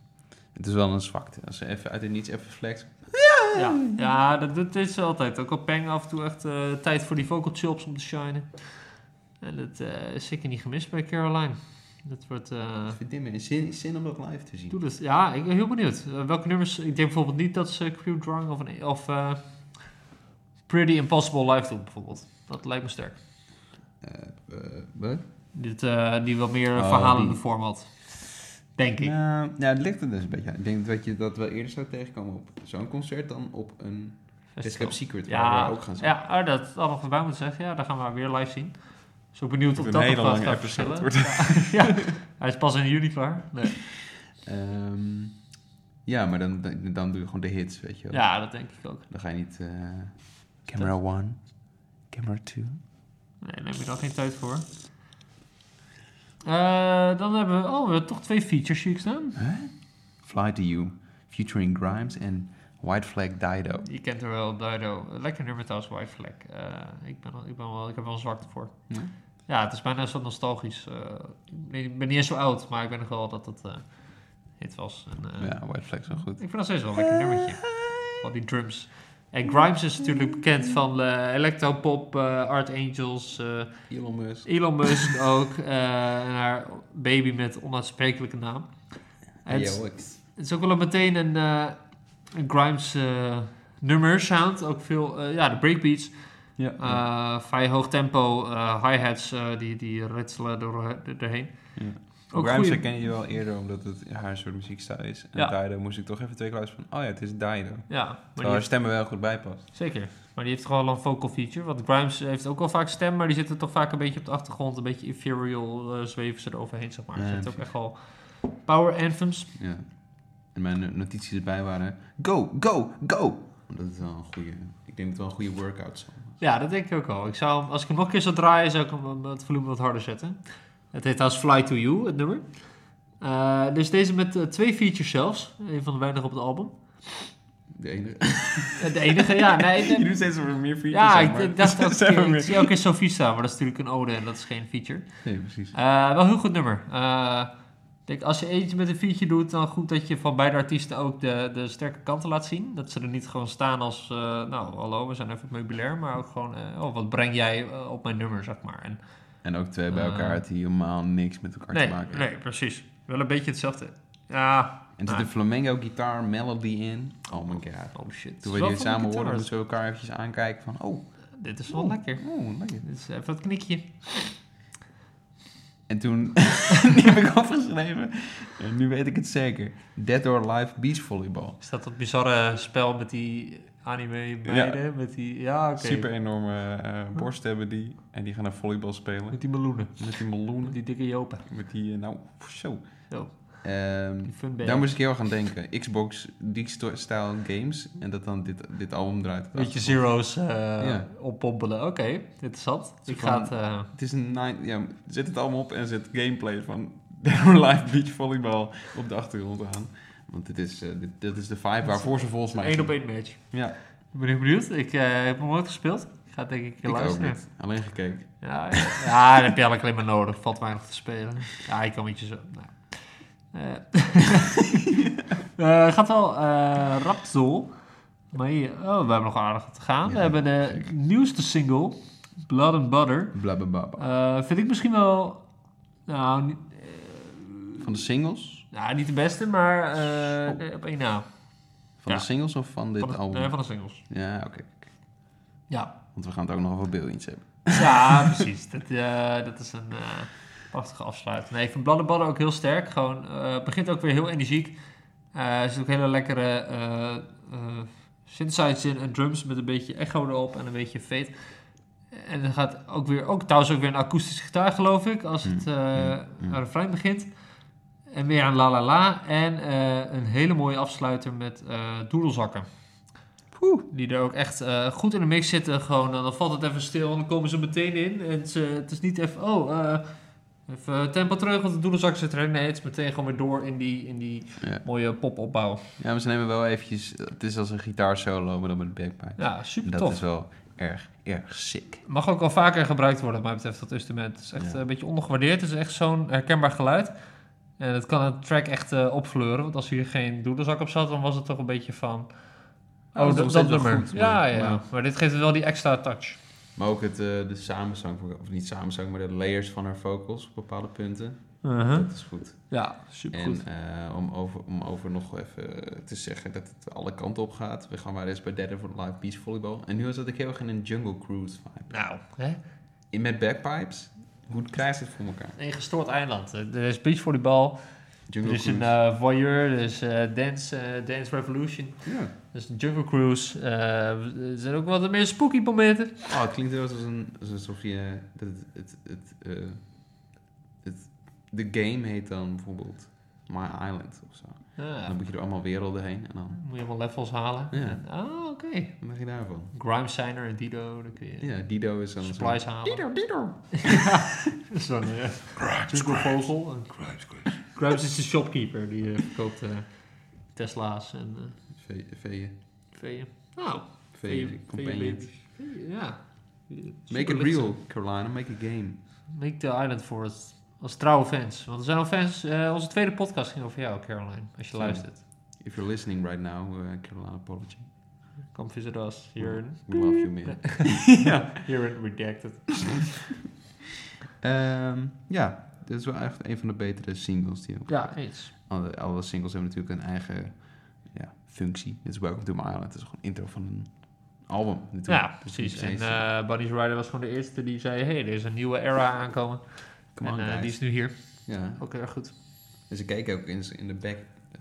S4: Het is wel een zwakte. Als ze even uit het niets even flex.
S3: Ja, ja dat doet dit zo altijd. Ook al peng af en toe echt eh, tijd voor die vocal chops om te shinen. En dat eh, is zeker niet gemist bij Caroline. Dat wordt... eh,
S1: Ik vind dit meer zin, zin om dat live te
S3: Doe
S1: zien.
S3: dat. Ja, ik ben heel benieuwd. Eh, welke nummers? Ik denk bijvoorbeeld niet dat ze Crew Drunk of, een, of eh, Pretty Impossible Live doen, bijvoorbeeld. Dat lijkt me sterk.
S1: Eh, eh, wat?
S3: Dit, eh, die wat meer
S4: Oh,
S3: verhalende
S4: die.
S3: vorm had. Denk ik.
S4: Nou, ja, het ligt er dus een beetje aan.
S1: Ik denk dat je dat wel eerder zou tegenkomen op zo'n concert dan op een Escape Secret, waar
S3: Ja,
S1: we ook gaan zien.
S3: ja ah, dat had nog voorbij moeten zeggen. Ja, daar gaan we haar weer live zien. Dus ook benieuwd of
S4: Een
S3: dat nog
S4: hele
S3: wat
S4: lange
S3: gaat
S4: episode
S3: verschillen. Ja. [LAUGHS] Ja. Hij is pas in juli klaar. Nee.
S1: Ehm, ja, maar dan, dan, dan doe je gewoon de hits, weet je wel.
S3: Ja, dat denk ik ook.
S1: Dan ga je niet... eh,
S4: Camera 1, camera 2.
S3: Nee, daar heb je dan geen tijd voor. Eh, dan hebben we... Oh, we hebben toch twee features zie ik staan.
S4: Fly to You, featuring Grimes en White Flag Dido.
S3: Je kent er wel, Dido. Lekker nummer trouwens, White Flag. Eh, ik, ben wel, ik, ben wel, ik heb wel een zwakte voor.
S4: Ja?
S3: Ja, het is bijna zo nostalgisch. Eh, ik ben- ik ben niet eens zo oud, maar ik weet nog wel dat dat eh hit was. En, eh,
S4: Ja, White Flag is wel goed.
S3: Ik vind dat steeds wel een lekker nummertje. Al die drums. En Grimes is natuurlijk bekend van eh Electropop, eh, Art Angels, eh,
S1: Elon Musk.
S3: Elon Musk ook. eh, en haar baby met onuitsprekelijke naam. En het-
S1: Ja, ik-
S3: het is ook wel meteen een, eh, een Grimes eh, nummer sound. Ook veel, eh, ja, de breakbeats.
S4: Ja.
S3: eh, vrij hoog tempo, eh, hi-hats eh, die, die ritselen door, er- doorheen.
S4: Ja.
S3: Ook
S4: Grimes
S3: goeie-
S4: herken je wel eerder omdat het haar soort muziekstijl is. En
S3: Ja.
S4: Dido moest ik toch even twee keer luisteren van, oh ja, het is Dido.
S3: Ja, maar die
S4: Terwijl haar
S3: heeft-
S4: stemmen wel goed bij past.
S3: zeker. Maar die heeft gewoon wel een vocal feature. Want Grimes heeft ook wel vaak stem, maar die zitten toch vaak een beetje op de achtergrond. Een beetje ethereal eh, zweven ze eroverheen, zeg maar.
S1: Ja,
S3: Ze heeft ook
S1: precies.
S3: echt wel power anthems.
S1: Ja. En mijn notities erbij waren... Go, go, go! Dat is wel een goede... Ik denk dat het wel een goede workout zal.
S3: Ja, dat denk ik ook al. Ik zou, hem- als ik hem nog een keer zou draaien, zou ik hem hem eh, het volume wat harder zetten. Het heet als Fly to You, het nummer. Eh, dus deze met eh, twee features zelfs. Een van de weinigen op het album.
S1: De enige...
S3: Eh, de enige, ja.
S1: [LAUGHS]
S3: Nee, de-
S4: Je doet steeds over meer features.
S3: ja,
S4: zeg
S3: ik
S4: maar.
S3: ik dacht ook,
S4: Zeg maar
S3: ik,
S4: meer.
S3: ik zie ook in Sophie staan, maar dat is natuurlijk een ode en dat is geen feature.
S4: Nee, precies.
S3: Eh, wel een heel goed nummer. Eh, ik denk, als je eentje met een feature doet, dan goed dat je van beide artiesten ook de, de sterke kanten laat zien. Dat ze er niet gewoon staan als, eh, nou hallo, we zijn even het meubilair, maar ook gewoon, eh, oh, wat breng jij eh, op mijn nummer, zeg maar. En
S1: En ook twee bij
S3: Ah.
S1: elkaar die helemaal niks met elkaar
S3: Nee,
S1: te maken hebben.
S3: nee, precies. Wel een beetje hetzelfde. Ja.
S1: En er zit
S3: Ah.
S1: een flamingo gitaar melody in. Oh my god.
S3: Oh shit.
S1: Toen
S3: Het is
S1: we
S3: wel
S1: die
S3: van de
S1: samen hoorden,
S3: guitars.
S1: moesten we elkaar eventjes aankijken van... Oh,
S3: Dit is wel lekker.
S1: oh lekker.
S3: Dit is even dat knikje.
S1: En toen... [LAUGHS] die heb ik opgeschreven. En nu weet ik het zeker. Dead or Alive Beach Volleyball.
S3: Is dat dat bizarre spel met die anime meiden? Met die, ja, oké.
S1: Super enorme eh, borst hebben die. En die gaan naar volleybal spelen.
S3: Met die meloenen.
S1: Met die
S3: Met
S1: meloenen.
S3: die dikke jopen.
S1: Met die... eh, nou, zo.
S3: Zo,
S1: Ehm,
S3: die fun
S1: daar moest ik heel erg aan denken. Xbox, die sto- style games. En dat dan dit, dit album draait.
S3: Een beetje zeros eh,
S1: Ja.
S3: oppompelen. Oké, interessant.
S1: Zo
S3: Ik
S1: van-
S3: ga het... eh,
S1: Het is een nine, ja, zet het allemaal op en zet gameplay van [LAUGHS] Dead or Alive Beach Volleybal op de achtergrond aan. Want dit is, eh, dit, dit is de vibe waarvoor ze volgens mij...
S3: Een op één match.
S1: Ja,
S3: Ik ben heel benieuwd. Ik eh, heb hem nooit gespeeld. Ik ga het denk ik een keer
S1: ik ook
S3: luisteren.
S1: niet. Alleen gekeken.
S3: Ja, ja. ja, dat heb je eigenlijk alleen maar nodig. Valt weinig te spelen. Ja, ik kan met je zo. Nou. Eh, [LAUGHS] eh, gaat wel eh Rapsol. Maar hier, oh, we hebben nog aardig wat te gaan.
S1: Ja,
S3: we hebben de
S1: zeker.
S3: nieuwste single, Blood and Butter.
S1: Blablabla.
S3: Eh, vind ik misschien wel... Nou, niet,
S1: Van de singles?
S3: nou, niet de beste, maar eh, op één na.
S1: Van
S3: Ja.
S1: de singles of van dit
S3: Van de,
S1: album?
S3: nee, van de singles.
S1: Ja, oké.
S3: Ja,
S1: Want we gaan het ook nog over Billions hebben.
S3: Ja, [LAUGHS] precies. Dat, eh, dat is een eh, prachtige afsluiting. Nee, ik vind Bladderballen ook heel sterk. Gewoon, eh, het begint ook weer heel energiek. Eh, er zit ook hele lekkere eh eh, synthesizers in en drums met een beetje echo erop en een beetje fade. En dan gaat ook weer, ook trouwens ook weer een akoestische gitaar geloof ik, als het eh
S1: mm, mm.
S3: een refrein begint. En weer aan La La La. En eh, een hele mooie afsluiter met eh, doedelzakken. Die er ook echt eh, goed in de mix zitten. Gewoon, en dan valt het even stil en dan komen ze meteen in. En ze, het is niet even, oh, eh, even eh, tempo terug, want de doedelzakken zitten erin. Nee, het is meteen gewoon weer door in die, in die
S1: Ja.
S3: mooie popopbouw.
S1: Ja, maar ze nemen wel eventjes... Het is als een gitaarsolo, maar dan met backpipe.
S3: Ja, super
S1: dat
S3: tof.
S1: is wel erg, erg sick.
S3: Mag ook al vaker gebruikt worden, wat mij betreft, dat instrument. Het is echt
S1: Ja.
S3: eh, een beetje ondergewaardeerd. Het is echt zo'n herkenbaar geluid. En het kan een track echt eh, opfleuren. Want als hier geen doedelzak op zat, dan was het toch een beetje van...
S1: dat
S3: Oh,
S1: is
S3: dat,
S1: nog
S3: dat
S1: steeds wel
S3: nummer.
S1: goed,
S3: ja,
S1: maar-
S3: ja.
S1: maar-
S3: Maar dit geeft wel die extra touch.
S1: Maar ook het, eh, de samenzang, van- of niet samenzang, maar de layers van haar vocals op bepaalde punten. Dat is goed.
S3: Ja, supergoed.
S1: En eh, om, over, om over nog even te zeggen dat het alle kanten op gaat. We gaan maar eens bij Dead of Live Beach Volleyball. En nu zat ik heel erg in een Jungle Cruise vibe.
S3: Nou, hè?
S1: In met backpipes. Hoe krijg je het voor elkaar?
S3: een gestoord eiland. Eh, Er is beachvolleybal, er
S1: Jungle
S3: is een eh, voyeur, er is eh, dance, eh, dance Revolution,
S1: ja.
S3: er is een Dus jungle cruise. eh, er zijn ook wat meer spooky momenten.
S1: Oh, het klinkt wel als een, als alsof je... Dat het, het, het, eh, het- de game heet dan bijvoorbeeld My Island of zo.
S3: Ja,
S1: Dan moet je er allemaal werelden heen. En dan,
S3: moet je allemaal levels halen.
S1: Ja.
S3: En- ah, oké.
S1: wat mag je daarvan?
S3: Grime Signer en Dido, dan kun je
S1: Ja, Dido is dan zo'n-
S3: supplies halen. [LAUGHS]
S1: Dido, Dido!
S3: Zo'n eh, jungle vogel. En- Grimes is de shopkeeper, die eh, verkoopt eh, Tesla's en eh,
S1: Vee- Veeën.
S3: veeën. Nou,
S1: Veeën, companions.
S3: Veeën, Ja.
S1: Make it
S3: Superlicht.
S1: real, Carolina. Make a game.
S3: Make the Island voor het. Als trouwe fans. Want er zijn al fans. eh, onze tweede podcast ging over jou, Caroline. Als je
S1: Ja.
S3: luistert.
S1: If you're listening right now, uh, Carolina Apology.
S3: Come visit us. You're in,
S1: We love you, man. [LAUGHS]
S3: you're in redacted.
S1: Ehm, ja, dit is wel echt een van de betere singles. Die ook.
S3: Ja, eens.
S1: Alle, alle singles hebben natuurlijk een eigen ja, functie. Dit is Welcome to My Island. Het is gewoon intro van een album. natuurlijk.
S3: Ja,
S1: Dus niet
S3: precies. En
S1: eens-
S3: eh Bunny's Rider was gewoon de eerste die zei... hey, er is een nieuwe era aankomen.
S1: Come on,
S3: en eh,
S1: guys.
S3: die is nu hier.
S1: ja.
S3: Ook heel erg goed.
S1: En ze kijken Dus ook in, in de back. eh,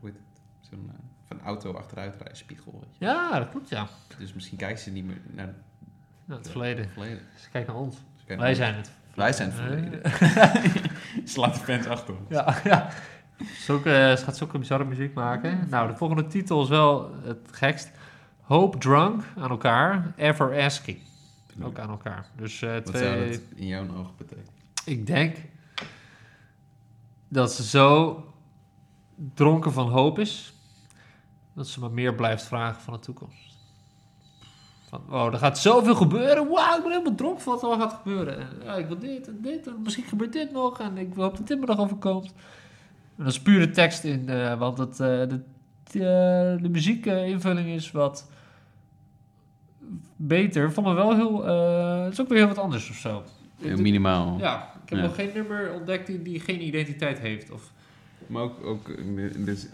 S1: hoe heet het? Zo'n eh, van auto achteruit rijden, spiegel. weet
S3: Ja, dat klopt, ja.
S1: je. Dus misschien kijken ze niet meer naar het
S3: Nou, het verleden.
S1: verleden.
S3: Dus kijk naar ons.
S1: Ze kijken
S3: Wij
S1: naar-
S3: zijn het.
S1: Wij zijn het verleden. [LAUGHS] Slaat de fans achter ons.
S3: Ja, [LAUGHS] ja. Zulke, eh, ze gaat zulke bizarre muziek maken. Nou, de volgende titel is wel het gekst. Hope Drunk aan elkaar. Ever Asking ook aan elkaar. Dus eh,
S1: Wat zou
S3: twee...
S1: dat in jouw ogen betekenen?
S3: Ik denk dat ze zo dronken van hoop is... dat ze maar meer blijft vragen van de toekomst. Van, oh, er gaat zoveel gebeuren. Wauw, ik ben helemaal dronken van wat er allemaal gaat gebeuren. En, ja, ik wil dit en dit en misschien gebeurt dit nog... en ik hoop dat dit me nog overkomt. En dat is pure tekst in, eh, want het, eh, de, eh, de muziekinvulling is wat beter. Vond me wel heel. eh, het is ook weer heel wat anders of zo. Ik
S1: Heel
S3: doe-
S1: minimaal.
S3: Ja, ik heb
S1: Ja.
S3: nog geen nummer ontdekt die, die geen identiteit heeft. Of,
S1: Maar ook, ook eh, dus, eh,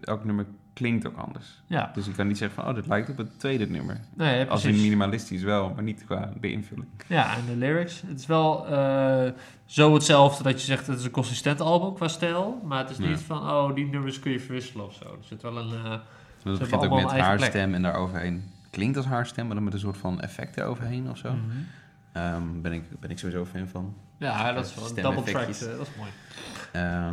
S1: elk nummer klinkt ook anders.
S3: ja,
S1: Dus je kan niet zeggen van, oh, dit lijkt op het tweede nummer.
S3: nee,
S1: Als in
S3: precies.
S1: minimalistisch wel, maar niet qua de invulling.
S3: Ja, en de lyrics. Het is wel eh, zo hetzelfde dat je zegt het is een consistent album qua stijl. Maar het is
S1: Ja.
S3: niet van, oh, die nummers kun je verwisselen of zo. Er zit wel een... eh,
S1: Dus dat
S3: Ze
S1: begint
S3: hebben
S1: ook met
S3: allemaal een
S1: haar
S3: eigen plek.
S1: stem en daaroverheen. Klinkt als haar stem, maar dan met een soort van effect eroverheen of zo.
S3: Mm.
S1: Ehm, ben, ik, ben ik sowieso fan van.
S3: Mhm. Ja, dat is wel een double track.
S1: Stemeffectjes.
S3: eh, dat is mooi.
S1: Ehm,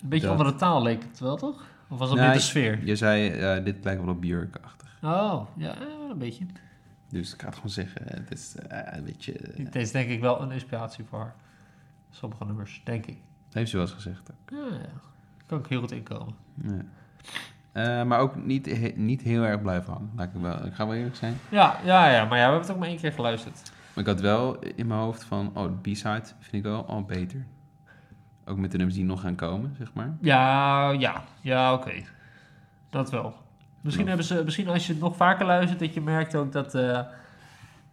S3: Een beetje
S1: dat-
S3: andere taal leek het wel, toch? Of was dat
S1: Nee.
S3: meer de sfeer?
S1: Je zei, eh, dit lijkt wel op Björk-achtig.
S3: Oh, ja, eh, wel een beetje.
S1: Dus ik ga het gewoon zeggen, het is eh, een beetje...
S3: Dit is denk ik wel een inspiratie voor haar. sommige nummers, denk ik.
S1: heeft ze wel eens gezegd.
S3: Ja, ja. Kan ik heel goed inkomen.
S1: Ja. Eh, maar ook niet, he- niet heel erg blijven hangen. Laat ik, wel, ik ga wel eerlijk zijn.
S3: Ja, ja, ja, maar ja, we hebben het ook maar één keer geluisterd.
S1: Maar ik had wel in mijn hoofd van, oh, de B-side vind ik wel al beter. Ook met de nummers die nog gaan komen, zeg maar.
S3: Ja, ja, ja, oké. Dat wel. Misschien,
S1: Ja.
S3: hebben ze, misschien als je het nog vaker luistert, dat je merkt ook dat eh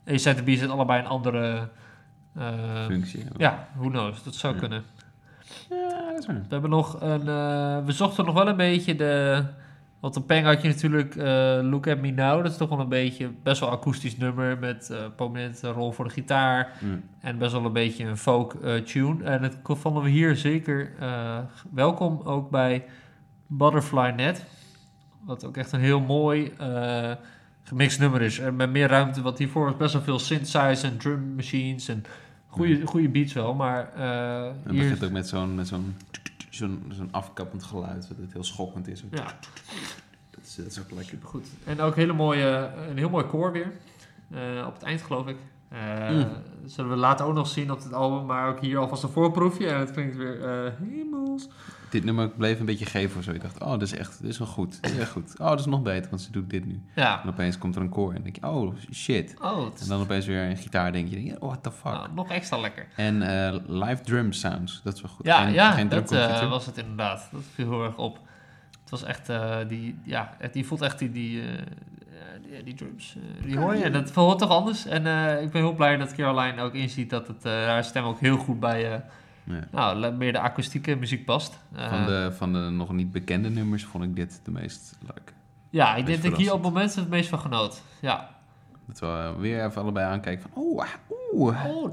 S3: A-side en B-side allebei een andere... eh,
S1: Functie.
S3: ja, who knows, dat zou
S1: Ja.
S3: kunnen.
S1: Ja, dat is waar.
S3: We hebben nog een. eh, we zochten nog wel een beetje de. Want op Peng had je natuurlijk eh, Look at Me Now. Dat is toch wel een beetje best wel akoestisch nummer met eh prominente rol voor de gitaar.
S1: Ja.
S3: En best wel een beetje een folk eh, tune. En dat k- vonden we hier zeker eh, welkom ook bij Butterfly Net. Wat ook echt een heel mooi eh, gemixt nummer is. En met meer ruimte, want hiervoor was best wel veel synthesizers en drum machines. En goede, goede beats wel, maar eh,
S1: En het
S3: hier...
S1: begint ook met zo'n met zo'n zo'n zo'n afkappend geluid, dat het heel schokkend is.
S3: Ja,
S1: Dat is, dat is ook lekker.
S3: Goed. En ook hele mooie, een heel mooi koor weer. Eh, op het eind geloof ik. Eh,
S1: Mm.
S3: Zullen we later ook nog zien op dit album. Maar ook hier alvast een voorproefje. En het klinkt weer eh, hemels.
S1: Dit nummer bleef een beetje geven of zo. Je dacht, oh, dit is echt, dit is wel goed. Dit is echt goed. Oh, dat is nog beter, want ze doet dit nu.
S3: Ja.
S1: En opeens komt er een koor en denk je, oh, shit.
S3: Oh, het
S1: En
S3: is
S1: dan opeens weer een gitaar denk je, denk je, oh, what the fuck.
S3: nou, nog extra lekker.
S1: En eh, live drum sounds, dat is wel goed.
S3: Ja,
S1: Geen-
S3: ja
S1: geen
S3: dat
S1: drumcomputer.
S3: eh, was het inderdaad. Dat viel heel erg op. Het was echt, eh, die, ja, echt- die voelt echt die, die, eh, ja, die, die drums. eh, die hoor je. En dat hoort toch anders. En eh, ik ben heel blij dat Caroline ook inziet dat het, eh, haar stem ook heel goed bij eh,
S1: Ja.
S3: nou, le- meer de akoestieke muziek past.
S1: Van,
S3: Eh,
S1: de, van de nog niet bekende nummers vond ik dit de meest leuk.
S3: Ja, ik
S1: Meest
S3: denk dat ik hier op het moment het meest van genoot. Ja.
S1: Dat we eh, weer even allebei aankijken van, oeh, ah, oeh.
S3: Oh,
S1: Oh,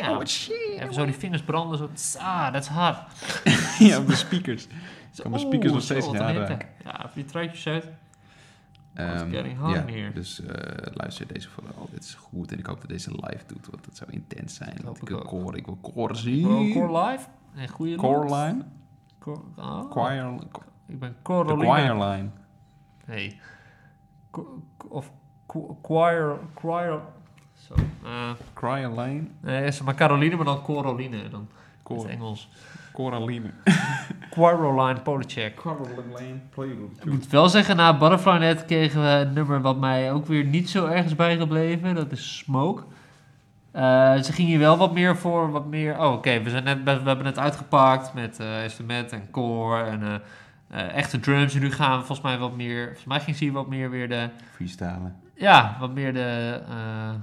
S3: damn.
S1: shit.
S3: Even zo die vingers branden, zo. tss, Ah, dat is hard.
S1: [LAUGHS]
S3: [LAUGHS]
S1: ja, op de speakers. Ik kan
S3: Oeh,
S1: mijn speakers nog
S3: zo,
S1: steeds
S3: wat
S1: niet
S3: een hitte.
S1: aanraken.
S3: Ja, even die truitjes uit. Oh, it's
S1: Ehm,
S3: getting hard in here.
S1: dus eh, luister deze voor. Oh, dit is goed. En ik hoop dat deze live doet, want dat zou intens zijn.
S3: hoop
S1: Want ik
S3: ik
S1: wil
S3: ook.
S1: koren, ik wil koren
S3: Core,
S1: zien.
S3: core live. Een goede
S1: Core line?
S3: Core, oh,
S1: Choir,
S3: Ik ben
S1: de
S3: Corolina.
S1: choir line.
S3: Nee. Ko- ko- Of ko- choir, choir. Zo. eh,
S1: Choir line?
S3: nee, is het maar Caroline, maar dan Coroline. Dan in het
S1: Cor-
S3: Engels.
S1: Coraline.
S3: Caroline Polacek.
S1: Coraline
S3: Ik moet wel zeggen, na Butterfly Net kregen we een nummer wat mij ook weer niet zo erg is bijgebleven. Dat is Smoke. Eh, ze ging hier wel wat meer voor, wat meer... Oh, oké, we, zijn net- we hebben het uitgepakt met eh instrument en koor en eh, eh, echte drums. En nu gaan we volgens mij wat meer... Volgens mij ging ze hier wat meer weer de...
S1: Freestylen.
S3: Ja, wat meer de... eh,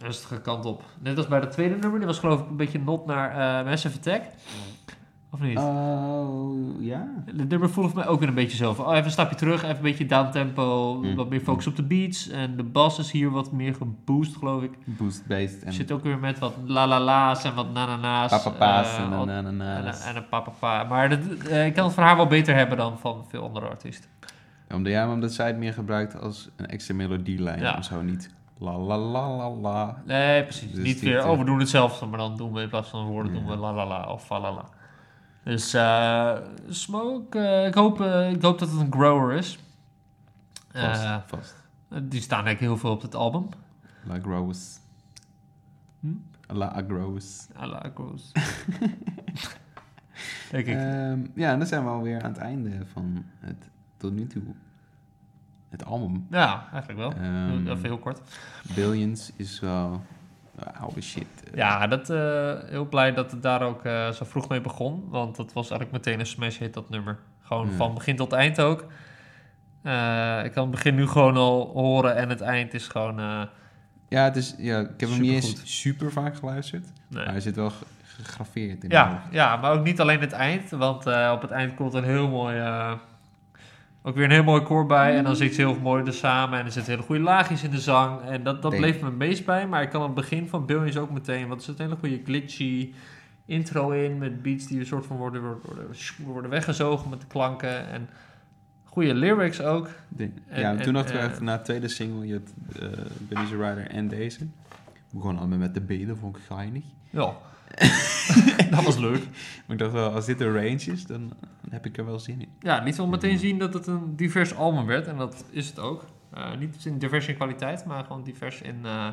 S3: rustige kant op. Net als bij dat tweede nummer. Die was geloof ik een beetje not naar eh Massive Attack. Of niet?
S1: Oh, ja.
S3: Het nummer voelde voor mij ook weer een beetje zo van, oh, even een stapje terug, even een beetje downtempo,
S1: Mm.
S3: wat meer focus op de beats. En de bas is hier wat meer geboost, geloof ik.
S1: Boost-based en
S3: Zit ook weer met wat la-la-la's en wat na-na-na's.
S1: papapa's
S3: eh,
S1: en
S3: al- en
S1: nanana's.
S3: en een papapa. Maar dat, eh, ik kan het voor haar wel beter hebben dan van veel andere artiesten.
S1: Omdat, ja, maar omdat zij het meer gebruikt als een extra melodielijn.
S3: Ja.
S1: Of zo niet la la la la la.
S3: Nee, precies.
S1: Dus
S3: Niet
S1: dit,
S3: weer,
S1: eh,
S3: oh, we doen hetzelfde, maar dan doen we in plaats van woorden, doen we la-la-la of la-la-la. Dus eh, Smoke, eh, ik, hoop, eh, ik hoop dat het een grower is.
S1: Vast,
S3: Eh,
S1: vast.
S3: die staan eigenlijk heel veel op het album.
S1: La Groes.
S3: Hm?
S1: La Groes.
S3: I like Rose.
S1: [LAUGHS]
S3: Denk ik.
S1: Ehm, ja, en dan zijn we alweer aan het einde van het tot nu toe. Het album.
S3: ja, eigenlijk Oh, wel.
S1: Ehm,
S3: Even heel kort.
S1: Billions is wel eh, oude shit. eh.
S3: Ja, dat, eh, heel blij dat het daar ook eh, zo vroeg mee begon. Want dat was eigenlijk meteen een smash hit, dat nummer. Gewoon
S1: Ja.
S3: van begin tot eind ook. Eh, ik kan het begin nu gewoon al horen en het eind is gewoon... eh,
S1: Ja, het is, ja ik heb hem niet
S3: Supergoed.
S1: eens super vaak geluisterd.
S3: Nee.
S1: Maar hij zit wel ge- gegraveerd in mijn
S3: Ja,
S1: hoofd.
S3: ja, maar ook niet alleen het eind. Want eh, op het eind komt een heel mooi... eh, ook weer een heel mooi koor bij. En dan zingt ze heel mooi er samen. En er zitten hele goede laagjes in de zang. En dat, dat
S1: Denk-
S3: bleef me het meest bij. Maar ik kan het begin van Billions ook meteen... Want er zit een hele goede glitchy intro in. Met beats die een soort van worden, worden, worden weggezogen met de klanken. En goede lyrics ook.
S1: De-
S3: En-
S1: ja,
S3: en,
S1: toen dachten we
S3: eh,
S1: echt na de tweede single, je had eh Benny Rider en deze. We begonnen allemaal met de B, dat vond ik geinig. [LAUGHS]
S3: Ja. dat was leuk.
S1: Maar ik dacht wel, als dit de range is, dan dan heb ik er wel zin in.
S3: Ja, liet wel meteen zien dat het een divers album werd. En dat is het ook. Eh, niet in divers in kwaliteit, maar gewoon divers in... eh,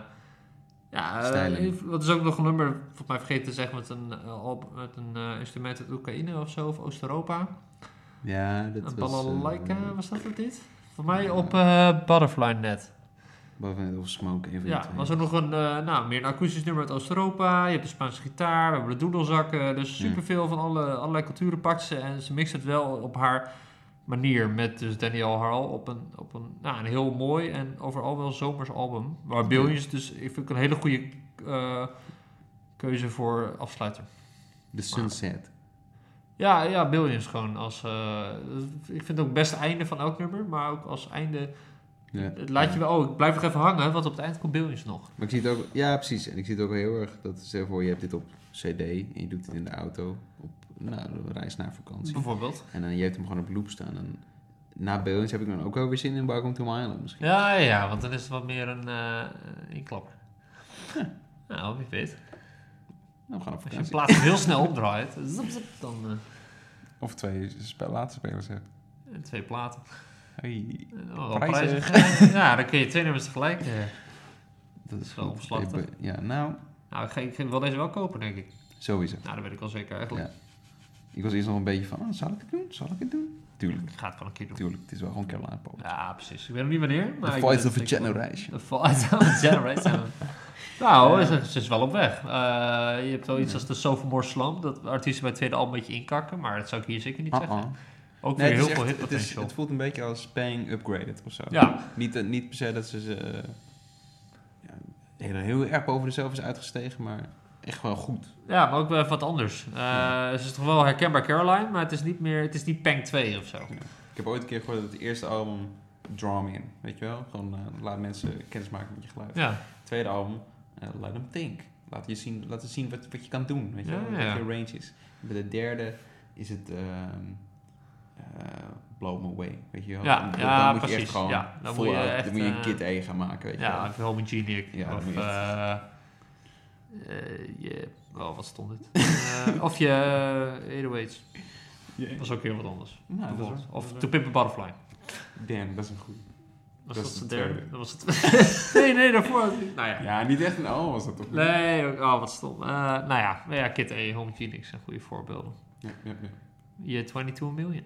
S3: ja, eh,
S1: Stijlen.
S3: wat is ook nog een nummer, volgens mij vergeten te zeggen, met een, eh, alb- met een eh, instrument uit Oekraïne of zo, of Oost-Europa.
S1: Ja, dat
S3: Een
S1: was... eh,
S3: balalaika, was dat het dit? Voor mij op eh, Butterfly Net.
S1: Boven- Of Smoke, even
S3: Ja, was er nog een, eh, nou, meer een akoestisch nummer uit Oost-Europa. Je hebt de Spaanse gitaar, we hebben de doedelzakken. Dus superveel van alle, allerlei culturen pakt ze. En ze mixt het wel op haar manier met dus Danielle Harl op een, op een, nou, een heel mooi en overal wel zomers album. Maar Billions dus, ik vind ik een hele goede eh, keuze voor afsluiter.
S1: The Sunset.
S3: Ja, ja, Billions gewoon als... eh, ik vind het ook best einde van elk nummer, maar ook als einde...
S1: Ja.
S3: Het laat je wel... Oh, ik blijf nog even hangen, want op het eind komt Billions nog.
S1: Maar ik zie het ook, ja precies, en ik zie het ook heel erg, dat stel je voor je hebt dit op cd en je doet het in de auto, op nou, de reis naar vakantie.
S3: Bijvoorbeeld.
S1: En dan je hebt hem gewoon op loop staan. En na Billions heb ik dan ook wel weer zin in Welcome to My Island misschien.
S3: Ja, ja, ja, want dan is het wat meer een eh inklapper. Nou, wie weet.
S1: Nou, we gaan op
S3: Als je een
S1: vakantie.
S3: plaat heel snel opdraait, zup, zup, dan
S1: Of twee spe- laatste spelers hebt.
S3: eh, twee platen.
S1: Hey,
S3: Eh, wel
S1: Prijzig. [LAUGHS]
S3: prijzig. ja, dan kun je twee nummers tegelijk. eh.
S1: dat is
S3: Wel
S1: goed.
S3: omslachtig.
S1: Ik ben- Ja, nou,
S3: Nou, ik, ga, ik wil deze wel kopen, denk ik.
S1: sowieso.
S3: Nou, dat weet ik wel zeker. Eigenlijk,
S1: Ja. Ik was eerst nog een beetje van, ah, zal ik het doen? Zal ik het doen? Tuurlijk,
S3: Ik ga het wel een keer doen.
S1: tuurlijk. Het is wel gewoon Carolina Pop.
S3: Ja, precies. Ik weet nog niet wanneer. Maar
S1: The
S3: ik
S1: Voice
S3: ben-
S1: of a
S3: ik-
S1: Generation.
S3: De Fallout of the Generation.
S1: [LAUGHS]
S3: nou, ze, ze is wel op weg. Eh, je hebt wel iets als de Sophomore Slam, dat artiesten bij het tweede album een beetje inkakken, maar dat zou ik hier zeker niet zeggen.
S1: Uh-uh.
S3: Ook
S1: Nee,
S3: weer
S1: het,
S3: heel
S1: is
S3: veel
S1: echt- het, is,
S3: hitpotential.
S1: het voelt een beetje als Bang upgraded of zo.
S3: Ja,
S1: Niet, eh, niet per se dat ze, ze eh, ja, heel, heel erg boven zichzelf is uitgestegen, maar echt wel goed.
S3: ja, maar ook wel even wat anders. Eh,
S1: Hmm.
S3: Ze is toch wel herkenbaar Caroline, maar het is niet meer, het is niet Pang 2 of zo.
S1: Ik heb ooit een keer gehoord dat het eerste album Draw Me In, weet je wel? Gewoon eh, laat mensen kennis maken met je geluid.
S3: Ja,
S1: Het tweede album, eh, Let Them Think. Laat je zien, laat het zien wat, wat je kan doen, weet je
S3: Ja,
S1: wel?
S3: ja.
S1: Wat je range is. Bij de derde is het ehm, eh, Blow Me Away, weet je wel?
S3: Ja,
S1: En
S3: ja,
S1: moet je
S3: precies.
S1: echt gewoon
S3: Ja, dan
S1: full
S3: moet je
S1: out-
S3: echt,
S1: dan moet je
S3: eh,
S1: een kid A gaan maken, weet je
S3: ja
S1: wel?
S3: even homogenic.
S1: Ja,
S3: of,
S1: moet je echt-
S3: eh, eh, je, oh, wat stond
S1: [LAUGHS]
S3: dit? Eh, of je uh, 808's,
S1: Ja.
S3: was ook heel wat anders.
S1: Nou, dat is waar.
S3: of To Pimp a Butterfly.
S1: Damn, dat is een goede.
S3: Was
S1: Dat
S3: dat,
S1: is
S3: de
S1: de
S3: derde?
S1: tweede.
S3: Dat was het. [LAUGHS] nee, nee, daarvoor. Nou ja.
S1: Ja, niet echt een album was dat toch?
S3: Nee, ook- oh, wat stom. Eh, nou ja, maar ja, Kid A, Home Genix zijn goede voorbeelden.
S1: Ja, ja, ja.
S3: Je 22 million.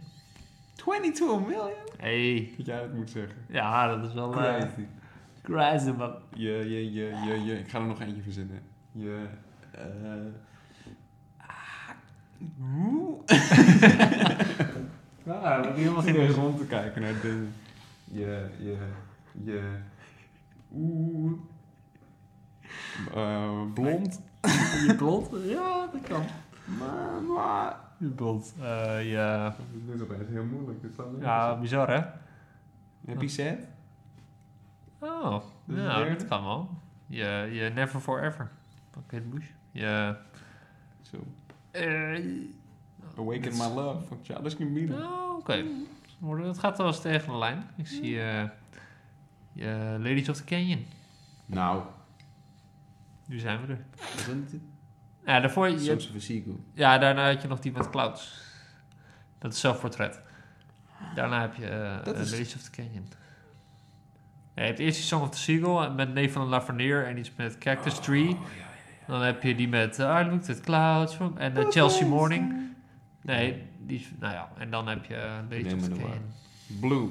S1: 22 miljoen?
S3: Hey.
S1: Dat jij dat moet zeggen.
S3: Ja, dat is wel... eh,
S1: Crazy.
S3: Crazy, man.
S1: Je, je, je, je, je. Ik ga er nog eentje verzinnen. Je. eh ah, [LAUGHS]
S3: Ja,
S1: Ah,
S3: dat is helemaal
S1: Mag je
S3: geen...
S1: eens rond te kijken naar dingen. Je, je, je. Oeh. Eh, blond.
S3: Je blond? Ja, dat kan.
S1: Mama.
S3: Je blond. Eh, ja.
S1: Dit is opeens heel moeilijk. Dit staat
S3: ja, bizar, hè?
S1: Heb je set?
S3: Oh,
S1: Dus de
S3: nou,
S1: derde?
S3: dat kan wel. Je, je Never Forever. Van Kate Bush. Je...
S1: Zo.
S3: eh, dus-
S1: Awaken my love. Fuck Childish Gambino.
S3: Oh, oké. Maar Dat gaat wel eens tegen de lijn. Ik zie eh eh, Ladies of the Canyon.
S1: Nou.
S3: Nu zijn we er.
S1: Soms
S3: Ja, daarvoor, je-
S1: een Seagull.
S3: ja, daarna had je nog die met Clouds. Dat is zelfportret. Daarna heb je eh,
S1: Dat
S3: eh,
S1: is-
S3: Ladies of the Canyon. Ja, je hebt eerst die Song of the Seagull met Nathan Lavernier en iets met
S1: Oh,
S3: Cactus Tree. Dan heb je die met eh, I Looked at Clouds from- en eh, Chelsea Morning. Nee, die is, nou ja, en dan heb je eh, Ladies
S1: Neem
S3: of
S1: me
S3: the
S1: de waar.
S3: Canyon.
S1: Blue.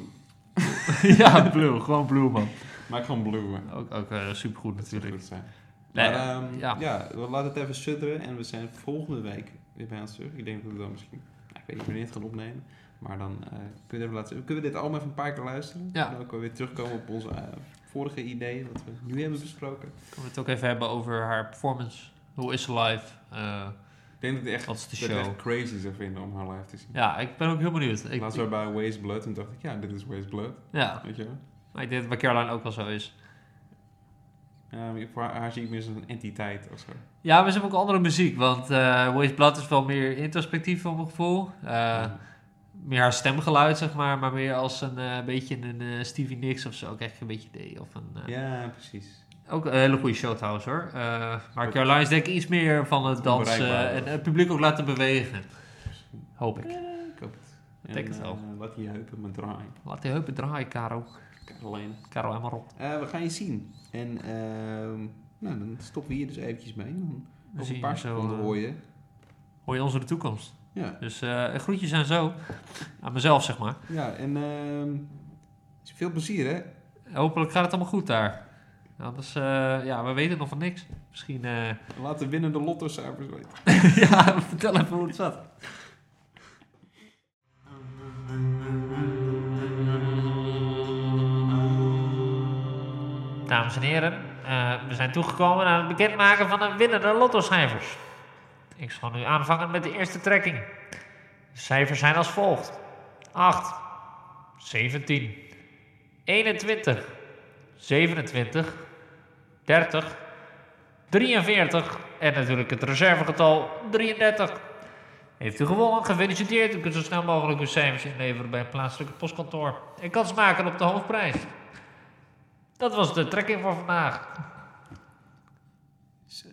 S3: [LAUGHS] ja, blue. Gewoon blue, man.
S1: Maak gewoon blue. hè.
S3: Ook, ook eh, supergoed
S1: Dat zou
S3: natuurlijk.
S1: goed zijn.
S3: Nee,
S1: maar, ehm,
S3: ja.
S1: ja. we laten het even sudderen en we zijn volgende week weer bij ons terug. Ik denk dat we dan misschien, nou, ik weet niet wanneer het gaan opnemen, maar dan eh, kunnen, we even laten, kunnen we dit allemaal even een paar keer luisteren.
S3: Ja.
S1: En dan kunnen we weer terugkomen op onze eh, vorige idee wat we nu hebben besproken.
S5: Kunnen we het ook even hebben over haar performance? Hoe is ze live? Eh,
S1: Ik denk dat ik echt,
S5: wat is de
S1: dat ik
S5: show?
S1: echt crazy zou vinden om haar live te zien.
S5: Ja, ik ben ook heel benieuwd. Ik,
S1: Laatst was bij Waze Blood en dacht ik, ja, dit is Waze Blood.
S5: ja,
S1: Weet je wel?
S5: maar ik denk dat het bij Caroline ook wel zo is.
S1: Ja, maar voor haar, haar zie Ehm, ik meer als een entiteit of zo.
S5: Ja, maar ze hebben ook andere muziek, want eh Waze Blood is wel meer introspectief van mijn gevoel. Eh, Meer haar stemgeluid, zeg maar, maar meer als een eh, beetje een eh, Stevie Nicks of zo, krijg je een beetje idee. Of een, eh,
S1: ja, precies.
S5: Ook een hele goede show trouwens hoor. Eh, maar Caroline is denk ik iets meer van het dansen
S1: Onbereikbaar.
S5: en het publiek ook laten bewegen. Hoop ik.
S1: Ik hoop het.
S5: Ik denk het wel.
S1: eh, laat die heupen maar draaien.
S5: Laat die heupen draaien, Caro.
S1: Alleen.
S5: Caro, helemaal rot.
S1: Eh, we gaan je zien. En ehm, nou, dan stoppen we hier dus eventjes mee. Dan
S5: We
S1: over
S5: zien
S1: een paar
S5: je zo,
S1: seconden
S5: eh,
S1: hoor je.
S5: Hoor je ons in de toekomst.
S1: Ja,
S5: Dus eh, groetjes en zo. Aan mezelf, zeg maar.
S1: ja en ehm, veel plezier hè.
S5: Hopelijk gaat het allemaal goed daar. Anders, eh, ja, we weten nog van niks. Misschien, eh, [LAUGHS]
S1: Laat de winnende lottocijfers weten.
S5: ja, vertel even hoe het zat. Dames en heren, eh, we zijn toegekomen aan het bekendmaken van de winnende lottocijfers. Ik zal nu aanvangen met de eerste trekking. De cijfers zijn als volgt: 8, 17, 21, 27, 30, 43 en natuurlijk het reservegetal 33. Heeft u gewonnen? Gefeliciteerd. U kunt zo snel mogelijk uw cijfers inleveren bij het plaatselijke postkantoor. En kans maken op de hoofdprijs. Dat was de trekking voor vandaag.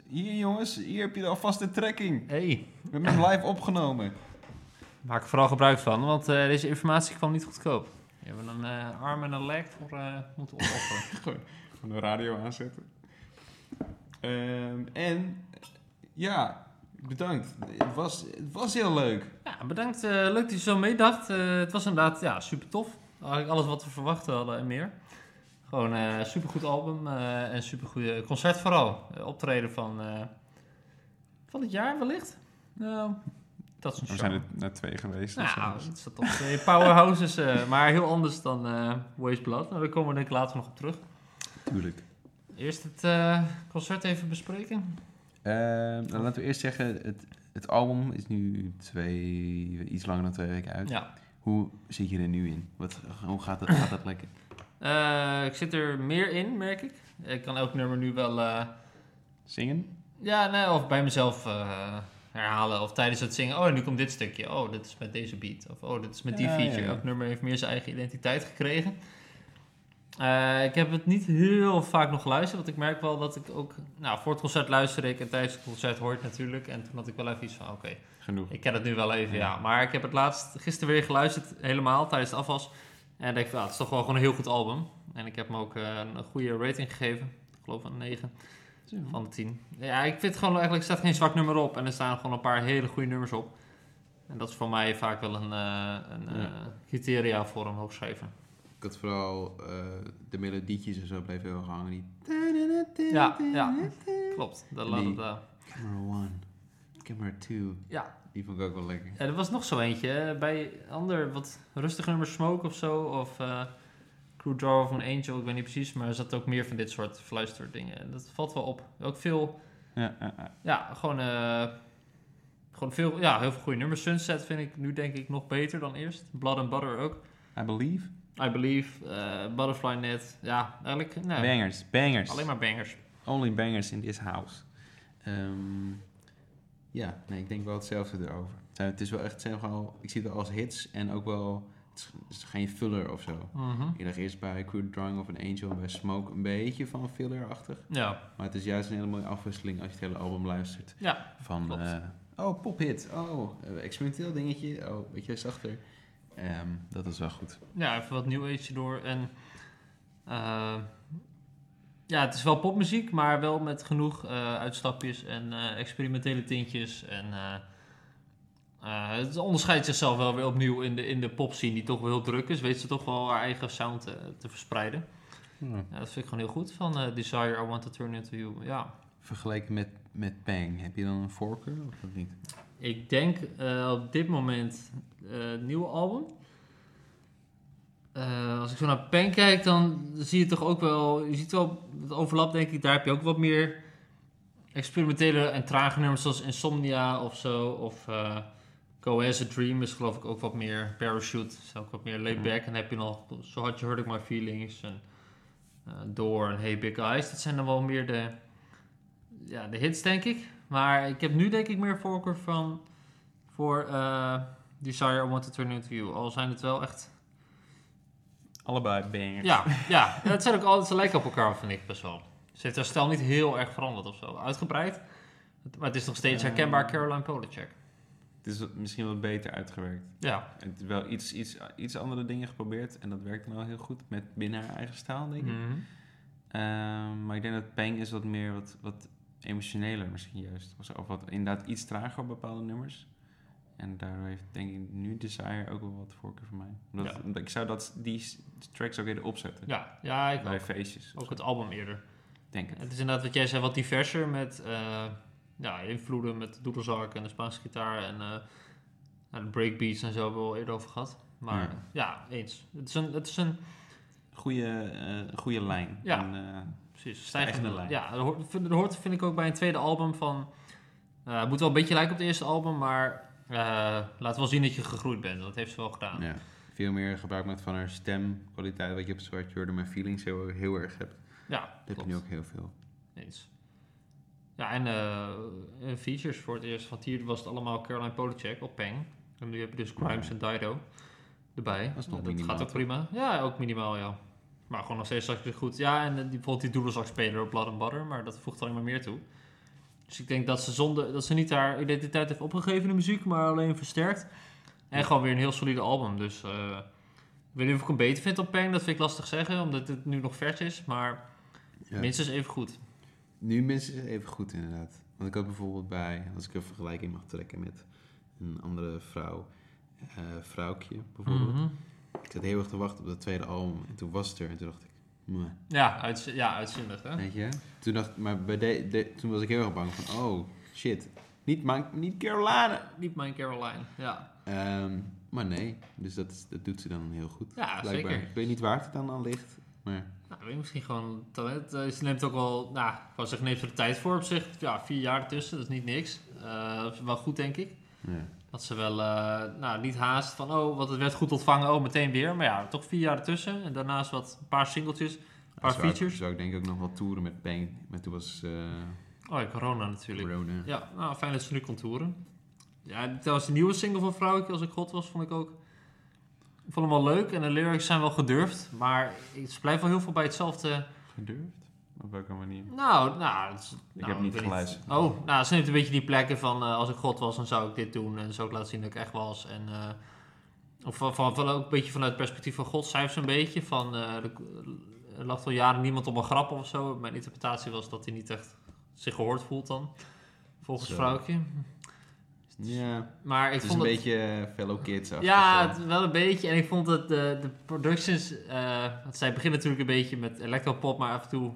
S1: Hier jongens, hier heb je alvast de trekking.
S5: Hey,
S1: We hebben hem live opgenomen.
S3: Maak er vooral gebruik van, want eh, deze informatie kwam niet goedkoop. We hebben een eh, arm en een leg voor eh, moeten opofferen.
S1: Van de radio aanzetten. Ehm, en eh, ja, bedankt. Het was, het was heel leuk.
S3: [LAUGHS] ja, bedankt. eh, leuk dat je zo meedacht. Eh, het was inderdaad ja, super tof. Eigenlijk alles wat we verwacht hadden en meer. Gewoon een supergoed album eh, en supergoed concert vooral. Eh, optreden van, eh, van het jaar wellicht. Nou, dat is een show.
S1: net twee geweest.
S3: Nou, het staat op twee powerhouses, eh, maar heel anders dan eh Waste Blood. Nou, daar komen we denk ik later nog op terug.
S1: Tuurlijk.
S3: Eerst het eh, concert even bespreken.
S6: nou, laten we eerst zeggen, het, het album is nu twee, iets langer dan twee weken uit.
S3: Ja.
S6: Hoe zit je er nu in? Wat, hoe gaat dat, gaat dat lekker?
S3: Eh, ik zit er meer in, merk ik. Ik kan elk nummer nu wel. eh,
S6: Zingen?
S3: ja, nee, of bij mezelf eh, herhalen. Of tijdens het zingen. Oh, nu komt dit stukje. Oh, dit is met deze beat. Of oh, dit is met die
S6: Ja,
S3: feature.
S6: ja, ja.
S3: Elk nummer heeft meer zijn eigen identiteit gekregen. Eh, ik heb het niet heel vaak nog geluisterd. Want ik merk wel dat ik ook. Nou, voor het concert luister ik. En tijdens het concert hoor ik natuurlijk. En toen had ik wel even iets van: oké.
S1: Genoeg.
S3: Ik ken het nu wel even, ja. Maar ik heb het laatst gisteren weer geluisterd, helemaal tijdens het afwas. En ik dacht, ja, het is toch wel gewoon een heel goed album. En ik heb hem ook eh, een goede rating gegeven. Ik geloof een 9 van de 10. Ja, ik vind gewoon eigenlijk, er staat geen zwak nummer op. En er staan gewoon een paar hele goede nummers op. En dat is voor mij vaak wel een, eh, een eh, criteria voor een hoogschrijver.
S1: Ik had vooral eh, de melodietjes en zo bleven heel erg hangen. Die
S3: Ja, ja, klopt. Dat laat
S1: Die-
S3: het eh,
S1: camera 1, camera 2.
S3: Ja.
S1: Die vond ik ook wel lekker.
S3: Ja, er was nog zo eentje. hè. Bij ander wat rustiger nummer Smoke of zo. Of eh Crew Draw of an Angel. Ik weet niet precies. Maar er zat ook meer van dit soort fluisterdingen. En dat valt wel op. Ook veel...
S6: Ja, ja, ja.
S3: Ja, gewoon... eh, gewoon veel... Ja, heel veel goede nummers. Sunset vind ik nu denk ik nog beter dan eerst. Blood and Butter ook.
S6: I believe.
S3: I Believe. eh, Butterfly Net. Ja, eigenlijk... Nou,
S6: Bangers, bangers.
S3: alleen maar bangers.
S6: Only bangers in this house.
S1: Ehm, ja, nee, ik denk wel hetzelfde erover. Het zijn- Het is wel echt, het zijn wel, ik zie het als hits en ook wel, het is, het is geen filler of zo.
S3: Mhm.
S1: Ik dacht eerst bij Crude Drawing of an Angel en bij Smoke een beetje van filler-achtig.
S3: Ja.
S1: Maar het is juist een hele mooie afwisseling als je het hele album luistert.
S3: Ja,
S1: Van,
S3: klopt.
S1: eh, oh, pophit, oh, eh, experimenteel dingetje, oh, weet je, zachter. Ehm, dat is wel goed.
S3: Ja, even wat New Age door. En eh, ja, het is wel popmuziek, maar wel met genoeg eh, uitstapjes en eh, experimentele tintjes. En eh, eh, het onderscheidt zichzelf wel weer opnieuw in de, in de popscene, die toch wel heel druk is. Weet ze toch wel haar eigen sound eh, te verspreiden. Ja, dat vind ik gewoon heel goed van eh, Desire, I Want to Turn Into You. Ja.
S1: Vergeleken met, met Bang, heb je dan een voorkeur of dat niet?
S3: Ik denk eh, op dit moment eh, het nieuwe album. eh, als ik zo naar Pen kijk, dan zie je toch ook wel... Je ziet wel het overlap, denk ik. Daar heb je ook wat meer experimentele en trage nummers... zoals Insomnia of zo. Of eh Go As A Dream is geloof ik ook wat meer Parachute. Is ook wat meer laid back. En dan heb je nog So Hard You Hurt My Feelings... En, eh, Door en Hey Big Eyes. Dat zijn dan wel meer de, ja, de hits, denk ik. Maar ik heb nu denk ik meer voorkeur van, voor eh, Desire I Want To Turn Into You. Al zijn het wel echt...
S7: Allebei bangers.
S3: Ja, ja. het zijn ook altijd, ze lijken op elkaar, vind ik best wel. Ze heeft haar stijl niet heel erg veranderd of zo. Uitgebreid. Maar het is nog steeds
S7: Ja.
S3: herkenbaar Caroline Polachek.
S7: Het is wat- misschien wat beter uitgewerkt.
S3: Ja.
S7: Het wel iets, iets, iets andere dingen geprobeerd en dat werkt dan wel heel goed met binnen haar eigen staal, denk ik.
S3: Mhm.
S7: Ehm, maar ik denk dat Pang is wat meer wat, wat emotioneler misschien juist. Of, zo. of wat inderdaad iets trager op bepaalde nummers. En daardoor heeft denk ik nu Desire ook wel wat voorkeur voor mij. Omdat,
S3: Ja.
S7: omdat ik zou dat, die s- tracks ook eerder opzetten.
S3: Ja, ja, ik
S7: Bij
S3: ook.
S7: feestjes. of
S3: Ook
S7: zo,
S3: het album eerder.
S7: Denk het.
S3: Het is inderdaad wat jij zei, wat diverser met eh, ja, invloeden met doedelzak en de Spaanse gitaar en eh, nou, de breakbeats en zo hebben we al eerder over gehad. Maar ja,
S7: Ja.
S3: eens. Het is een, het is een
S7: Goede, eh, goede lijn.
S3: Ja.
S7: En, eh, Stijgende
S3: precies, stijgende
S7: lijn.
S3: lijn. Ja, dat hoort, vind, dat hoort vind ik ook bij een tweede album van... eh, het moet wel een beetje lijken op het eerste album, maar eh, laat wel zien dat je gegroeid bent. Dat heeft ze wel gedaan.
S1: Ja, veel meer gebruik maakt van haar stemkwaliteit. Wat je op Zwart Jordan My Feelings heel, heel erg hebt.
S3: Ja,
S1: Dat heb je
S3: klopt.
S1: nu ook heel veel.
S3: Eens. Ja, en eh, en features voor het eerst. Want hier was het allemaal Caroline Polachek op Peng. En nu heb je dus Grimes en Dido erbij.
S1: Dat is nog
S3: Ja,
S1: minimaal,
S3: gaat ook prima. Ja, ook minimaal, ja. Maar gewoon nog steeds straks weer goed. Ja, en eh, die, bijvoorbeeld die doedelzakspeler op Blood and Butter. Maar dat voegt alleen maar meer toe. Dus ik denk dat ze, zonde, dat ze niet haar identiteit heeft opgegeven in de muziek. Maar alleen versterkt. En gewoon weer een heel solide album. Dus eh, ik weet niet of ik hem beter vind op Peng. Dat vind ik lastig zeggen. Omdat het nu nog vers is. Maar
S1: Ja.
S3: minstens even goed.
S1: Nu minstens even goed inderdaad. Want ik had bijvoorbeeld bij, als ik een vergelijking mag trekken met een andere vrouw, eh, vrouwtje bijvoorbeeld.
S3: Mhm.
S1: Ik zat heel erg te wachten op dat tweede album en toen was het er en toen dacht ik, meh.
S3: Ja, uitz ja uitzinnig, hè?
S1: Weet je? Toen dacht maar bij de, de- toen was ik heel erg bang van, oh shit, niet, Ma- niet Caroline.
S3: Niet mijn Caroline. Ja,
S1: Ehm, maar nee, dus dat, is- dat doet ze dan heel goed.
S3: ja
S1: blijkbaar.
S3: zeker.
S1: Ik weet niet waar het dan aan ligt, maar
S3: Nou, weet je, misschien gewoon talent. Eh, ze neemt ook wel, nou, ik wou zeggen, neemt ze de tijd voor op zich. Ja, vier jaar ertussen, dat is niet niks. Eh, dat is wel goed, denk ik.
S1: ja.
S3: Dat ze wel, eh, nou, niet haast van, oh, wat het werd goed ontvangen, oh, meteen weer. Maar ja, toch vier jaar ertussen. En daarnaast wat, een paar singeltjes, een paar
S1: Zou ik-
S3: features.
S1: Zou ik denk ik ook nog wel toeren met Bang, maar toen was eh
S3: Oh, ja, corona natuurlijk.
S1: corona.
S3: Ja, nou, fijn dat ze nu contouren. Ja, trouwens, de nieuwe single van Vrouwtje, Als ik God was, vond ik ook... Ik vond hem wel leuk en de lyrics zijn wel gedurfd. Maar ze blijven wel heel veel bij hetzelfde...
S7: Gedurfd? Op welke manier?
S3: Nou, nou... het is- nou,
S7: heb niet
S3: weet
S7: geluisterd.
S3: Oh, nou, ze neemt een beetje die plekken van... eh, als ik God was, dan zou ik dit doen. En zou ik laten zien dat ik echt was. En... eh, of van, van, van ook een beetje vanuit het perspectief van God zei ze een beetje van... eh, er, er lacht al jaren niemand om een grap of zo. Mijn interpretatie was dat hij niet echt zich gehoord voelt dan. Volgens
S1: Zo.
S3: Vrouwtje.
S1: Ja,
S3: Maar ik
S1: het is een
S3: vond het...
S1: beetje eh, fellow kids af.
S3: Ja, het- wel een beetje. En ik vond dat de, de productions... eh, want zij beginnen natuurlijk een beetje met electropop, maar af en toe...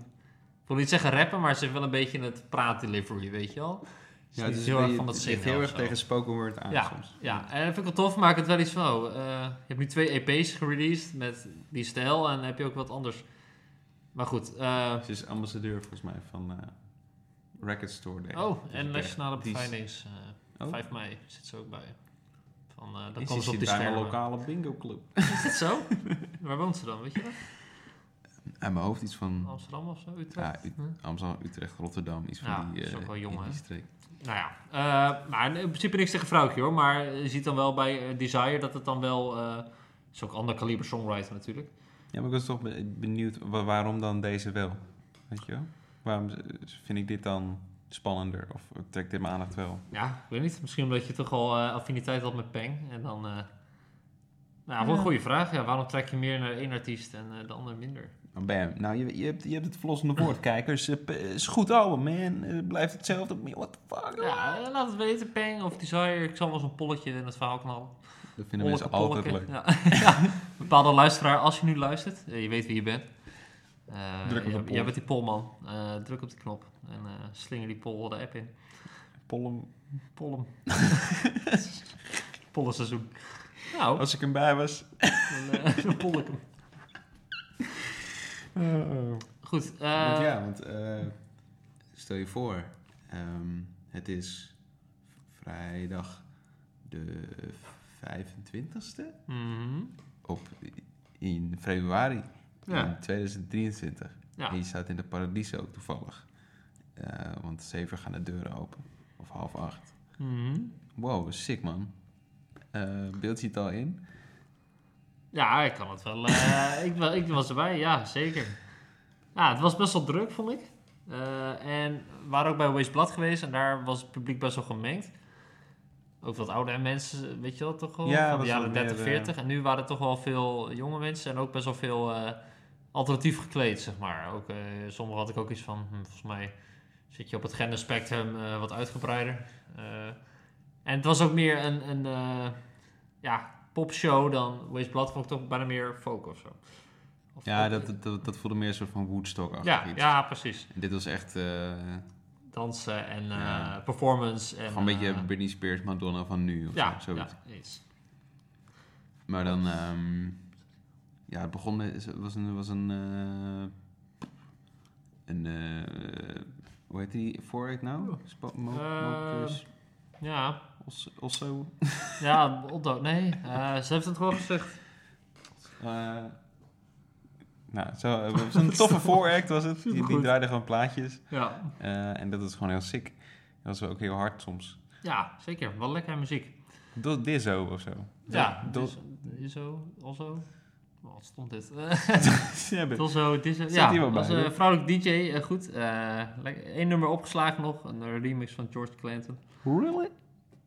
S3: Ik wil niet zeggen rappen, maar ze heeft wel een beetje het praatdelivery, weet je wel? Ze is
S1: Ja, het
S3: niet
S1: is
S3: heel
S1: een
S3: erg
S1: beetje-
S3: van dat
S1: het ligt
S3: zingen
S1: heel
S3: of
S1: erg
S3: zo.
S1: tegen spoken word aan
S3: Ja,
S1: soms.
S3: Ja, en dat vind ik wel tof, maar ik het wel iets van... Oh, eh, je hebt nu twee EP's gereleased met die stijl en heb je ook wat anders. Maar goed, eh,
S7: Ze is ambassadeur volgens mij van eh, Record Store Day.
S3: Oh,
S7: Dus
S1: eh,
S3: en
S7: ik denk-
S3: Nationale
S7: die is-
S3: Bevrijdings. eh
S7: Oh.
S3: 5 mei zit ze ook bij. Van, eh dan
S7: die
S3: komen ze
S7: zit
S3: op die
S7: bij mijn
S3: schermen.
S7: lokale bingo club.
S3: Is dit
S1: [LAUGHS]
S3: zo? Waar woont ze dan, weet je dat?
S1: Uit mijn hoofd iets van
S3: Amsterdam of zo? Utrecht?
S1: ja, U- Amsterdam, Utrecht, Rotterdam. Iets van
S3: Ja,
S1: die,
S3: dat is
S1: eh,
S3: ook wel jong,
S1: in die
S3: hè?
S1: streek.
S3: Nou ja, eh, maar in principe niks tegen vrouwtje hoor. Maar je ziet dan wel bij eh, Desire dat het dan wel... eh is ook ander kaliber songwriter natuurlijk.
S7: Ja, maar ik was toch be- benieuwd wa- waarom dan deze wel? Weet je wel? Waarom eh, vind ik dit dan spannender? Of trekt dit mijn aandacht wel?
S3: Ja, ik weet niet. Misschien omdat je toch al eh, affiniteit had met Peng. En dan... eh, nou, wel een goede vraag. Ja, waarom trek je meer naar één artiest en eh, de ander minder?
S7: Dan Bam. Nou, je, je, hebt, je hebt het verlossende
S1: [CLEARS THROAT]
S7: woord, kijkers.
S1: Eh,
S7: Het is goed album, man. Het blijft hetzelfde. Maar What the fuck?
S3: Ja, eh, laat het weten. Peng of Desire. Ik zal wel zo'n polletje in het verhaal knallen.
S1: Dat vinden mensen
S3: Olleke
S1: altijd
S3: polleke.
S1: leuk.
S3: Ja. ja. [LAUGHS] Bepaalde luisteraar, als je nu luistert, eh, je weet wie je bent. Eh,
S7: Druk op de
S3: jij-
S7: poll.
S3: Jij bent die polman. Eh, druk op die knop en eh, slinger die poll de app in.
S7: Pollum.
S3: Pollen. Pollenseizoen. Nou,
S4: Als ik hem bij was.
S3: dan, eh, [LAUGHS] dan pol ik hem. Goed. eh,
S1: want ja, want eh, stel je voor, ehm, het is vrijdag de 25ste
S3: mhm.
S1: op, in februari
S3: Ja.
S1: in 2023.
S3: Ja.
S1: En je staat in de Paradiso toevallig. Eh, want zeven gaan de deuren open. Of half acht.
S3: Mhm.
S1: Wow, sick man. Eh, beeld je het al in?
S3: Ja, ik kan het wel. eh, [LAUGHS] ik, wa- ik was erbij, ja, zeker. Ja, het was best wel druk, vond ik. Eh, en we waren ook bij Wasteblad geweest en daar was het publiek best wel gemengd. Ook wat oudere mensen, weet je wel, toch wel?
S4: Ja,
S3: van
S4: was
S3: de
S4: wel
S3: jaren
S4: meer,
S3: 30,
S4: eh,
S3: 40. En nu waren er toch wel veel jonge mensen en ook best wel veel eh, alternatief gekleed, zeg maar. Ook, eh sommigen had ik ook iets van, hm, volgens mij zit je op het genderspectrum eh, wat uitgebreider. Eh, en het was ook meer een, een eh, ja, popshow dan Wasteblad, vond ik toch bijna meer folk of zo. Of
S1: Ja,
S3: pop-
S1: dat, dat, dat voelde meer een soort van Woodstock-achtig
S3: ja,
S1: iets.
S3: ja, precies.
S1: Dit was echt eh,
S3: Dansen en eh,
S1: Ja.
S3: performance. En,
S1: gewoon een beetje
S3: eh,
S1: Britney Spears, Madonna van nu of
S3: ja,
S1: zo, zoiets.
S3: ja, eens.
S1: Maar dan, ehm, ja, het begon met, het was een, was een, eh, een eh, hoe heet die vooruit nou? Spa- mo-
S3: Oh. Eh,
S1: Mopus?
S3: Ja,
S1: Os- Osso?
S3: ja Otto, nee, eh, ze heeft het gewoon gezegd.
S1: Eh,
S4: Nou, zo, eh,
S3: [LAUGHS]
S4: het was een toffe vooract was het. Die, die
S3: Supergoed.
S4: draaide gewoon plaatjes.
S3: Ja.
S4: Eh, en dat is gewoon heel sick. Dat was ook heel hard soms.
S3: ja, zeker. Wel lekker muziek.
S4: Do- Dizzo of zo.
S3: Ja,
S4: Do-
S3: dus, is zo, also. Wat stond
S1: [LAUGHS]
S3: dit?
S4: Ja, ben-
S3: Dilso, Dilso,
S4: Zit hier
S3: ja,
S4: wel bij,
S3: was een
S4: hè?
S3: vrouwelijk DJ, eh, goed. Eén nummer opgeslagen nog, een remix van George Clinton.
S4: Really?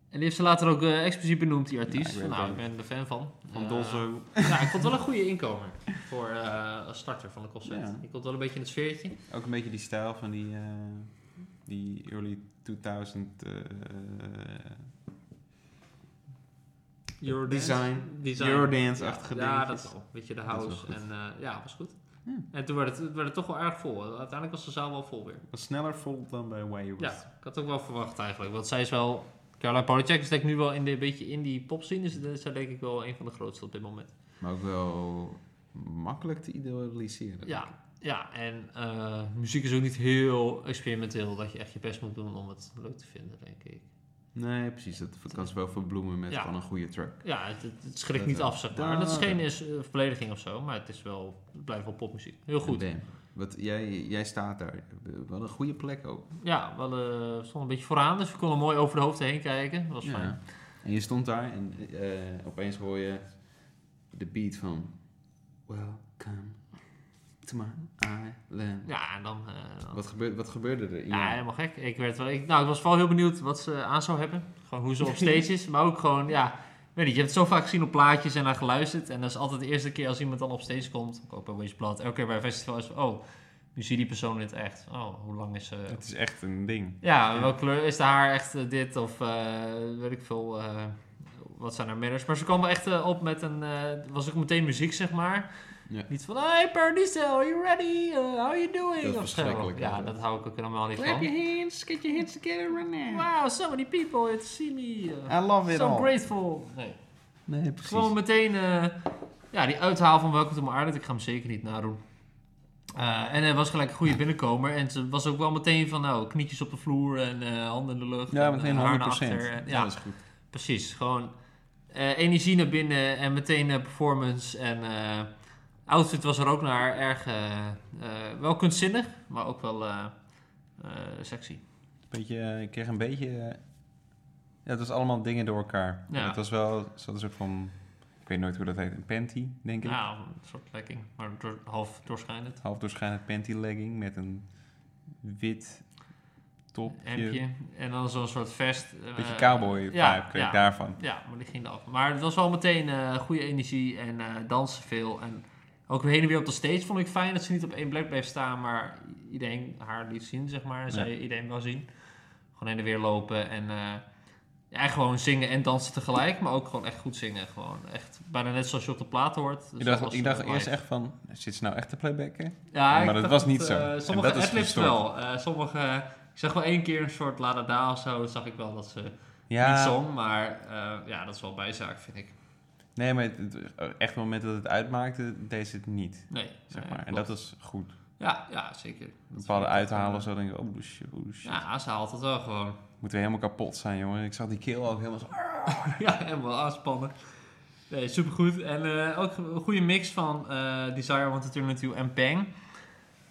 S3: En die heeft ze later ook eh, expliciet benoemd, die artiest.
S4: Ja, ik weet
S3: nou, ik
S4: het
S3: ben er fan van.
S4: Van
S3: Eh, [LAUGHS]
S4: Dolzo.
S3: Ja, ik vond het wel een goede inkomer voor eh, als starter van de concert.
S4: Ja.
S3: Je komt wel een beetje in het sfeertje.
S4: Ook een beetje die stijl van die, eh, die early 2000 eh,
S3: Eurodance.
S4: Design.
S3: Design.
S4: Eurodance-achtige
S3: Ja,
S4: dingetjes.
S3: dat wel. Weet je, de
S4: Dat is wel
S3: house.
S4: goed.
S3: En eh, ja, was goed.
S4: Ja.
S3: En toen werd het, het werd het toch wel erg vol. Uiteindelijk was de zaal wel vol weer.
S4: was sneller vol dan bij Wayward.
S3: Ja, ik had ook wel verwacht eigenlijk. Want zij is wel... Caroline Polachek is denk ik nu wel in de, een beetje in die popscene. Dus dat is zij denk ik wel een van de grootste op dit moment.
S1: maar ook wel makkelijk te idealiseren.
S3: Ja, ja en eh, muziek is ook niet heel experimenteel. Dat je echt je best moet doen om het leuk te vinden, denk ik.
S1: Nee, precies. Dat kan ze wel verbloemen met
S3: Ja.
S1: gewoon een goede track.
S3: Ja, het, het- het schrikt
S1: Dat,
S3: niet
S1: eh,
S3: af, zeg maar. Dat is
S1: daar-
S3: geen is, eh, belediging of zo, maar het, is wel, het blijft wel popmuziek. Heel goed.
S1: Bam. Wat, jij, jij staat daar. Wel een goede plek ook.
S3: Ja, wel, eh, we stonden een beetje vooraan, dus we konden mooi over de hoofden heen kijken. Dat was
S1: Ja.
S3: fijn.
S1: En je stond daar en eh, opeens hoor je de beat van Welcome to my island.
S3: Ja, en dan... eh, dan-
S1: Wat, gebeurde, wat gebeurde er? in
S3: ja,
S1: jou?
S3: helemaal gek. Ik, werd wel, ik, nou, ik was vooral heel benieuwd wat ze aan zou hebben. Gewoon hoe ze op stage is, maar ook gewoon, ja... Weet niet, je hebt het zo vaak gezien op plaatjes en naar geluisterd. En dat is altijd de eerste keer als iemand dan op stage komt. Ook bij Wasteblad, elke keer bij een festival is oh, nu zie je die persoon in het echt. Oh, hoe lang is ze...
S4: Het is echt een ding.
S3: Ja, welke kleur is de haar echt eh, dit of eh, weet ik veel, eh, wat zijn haar middels. Maar ze kwam wel echt eh, op met een, eh, was ook meteen muziek zeg maar.
S1: Ja.
S3: Niet van, hey Paradiso, are you ready? Eh, how are you doing?
S1: Dat is
S3: Of zo.
S1: verschrikkelijk,
S3: Ja,
S1: ja.
S3: dat hou ik ook helemaal niet van.
S2: hands, get your hands together right now.
S3: Wow, so many people here to see me. Eh,
S4: I love it
S3: so
S4: all.
S3: grateful. Nee.
S1: Nee, precies.
S3: Gewoon meteen eh, ja, die uithaal van Welcome to my Island. Ik ga hem zeker niet nadoen. Eh, en hij was gelijk een goede binnenkomer. En ze was ook wel meteen van, nou, knietjes op de vloer en eh, handen in de lucht.
S4: Ja,
S3: en,
S4: meteen
S3: eh, haar naar
S4: 100%.
S3: achter. En,
S1: Ja,
S3: ja,
S1: dat is goed.
S3: precies. Gewoon eh, energie naar binnen en meteen eh, performance. En eh, outfit was er ook naar. Erg, eh, eh, wel kunstzinnig, maar ook wel eh, eh, sexy.
S4: Beetje, eh, ik kreeg een beetje... eh, ja, het was allemaal dingen door elkaar.
S3: Ja.
S4: Het was wel ze hadden een soort van... Ik weet nooit hoe dat heet. Een panty, denk ik.
S3: Ja, een soort lekking, maar door- half doorschijnend.
S4: Half doorschijnend panty legging met een wit topje.
S3: Hemdje. En dan zo'n soort vest.
S4: Beetje
S3: eh,
S4: cowboy vibe
S3: ja,
S4: kreeg
S3: ja.
S4: ik daarvan.
S3: Ja, maar die ging eraf. Maar het was wel meteen eh, goede energie en eh, dansen veel. En ook heen en weer op de stage vond ik fijn dat ze niet op één plek bleef staan, maar iedereen haar liet zien, zeg maar. En zij iedereen wel zien. Gewoon heen en weer lopen en eh, ja, gewoon zingen en dansen tegelijk, maar ook gewoon echt goed zingen. Gewoon echt bijna net zoals je op de plaat hoort. Dus
S4: Ik
S3: dat was,
S4: dacht, ik
S3: eh,
S4: dacht
S3: live.
S4: eerst echt van, zit ze nou echt te playbacken?
S3: Ja,
S4: Maar
S3: ik
S4: dat
S3: dacht
S4: was niet zo.
S3: eh,
S4: En
S3: sommige
S4: dat is
S3: adlibs
S4: gestoord.
S3: wel. Eh, sommige, ik zag wel één keer een soort ladada of zo, zag ik wel dat ze
S4: Ja,
S3: niet zong, maar eh, ja, dat is wel bijzaak, vind ik.
S4: Nee, maar het- het- echt op het moment dat het uitmaakte, deed ze het niet.
S3: Nee,
S4: Zeg
S3: nee,
S4: maar. en
S3: klopt.
S4: dat is goed.
S3: Ja, ja, zeker. Dat is
S4: Bepaalde
S3: echt,
S4: uithalen
S3: eh,
S4: of zo, denk ik, oh shit, oh shit.
S3: Ja, ze haalt het wel gewoon.
S4: Moeten we helemaal kapot zijn, jongen. Ik zag die keel ook helemaal zo...
S3: [LAUGHS] ja, helemaal aanspannen. Nee, supergoed. En eh, ook een goede mix van eh, Desire Want to Turn Into You en Peng.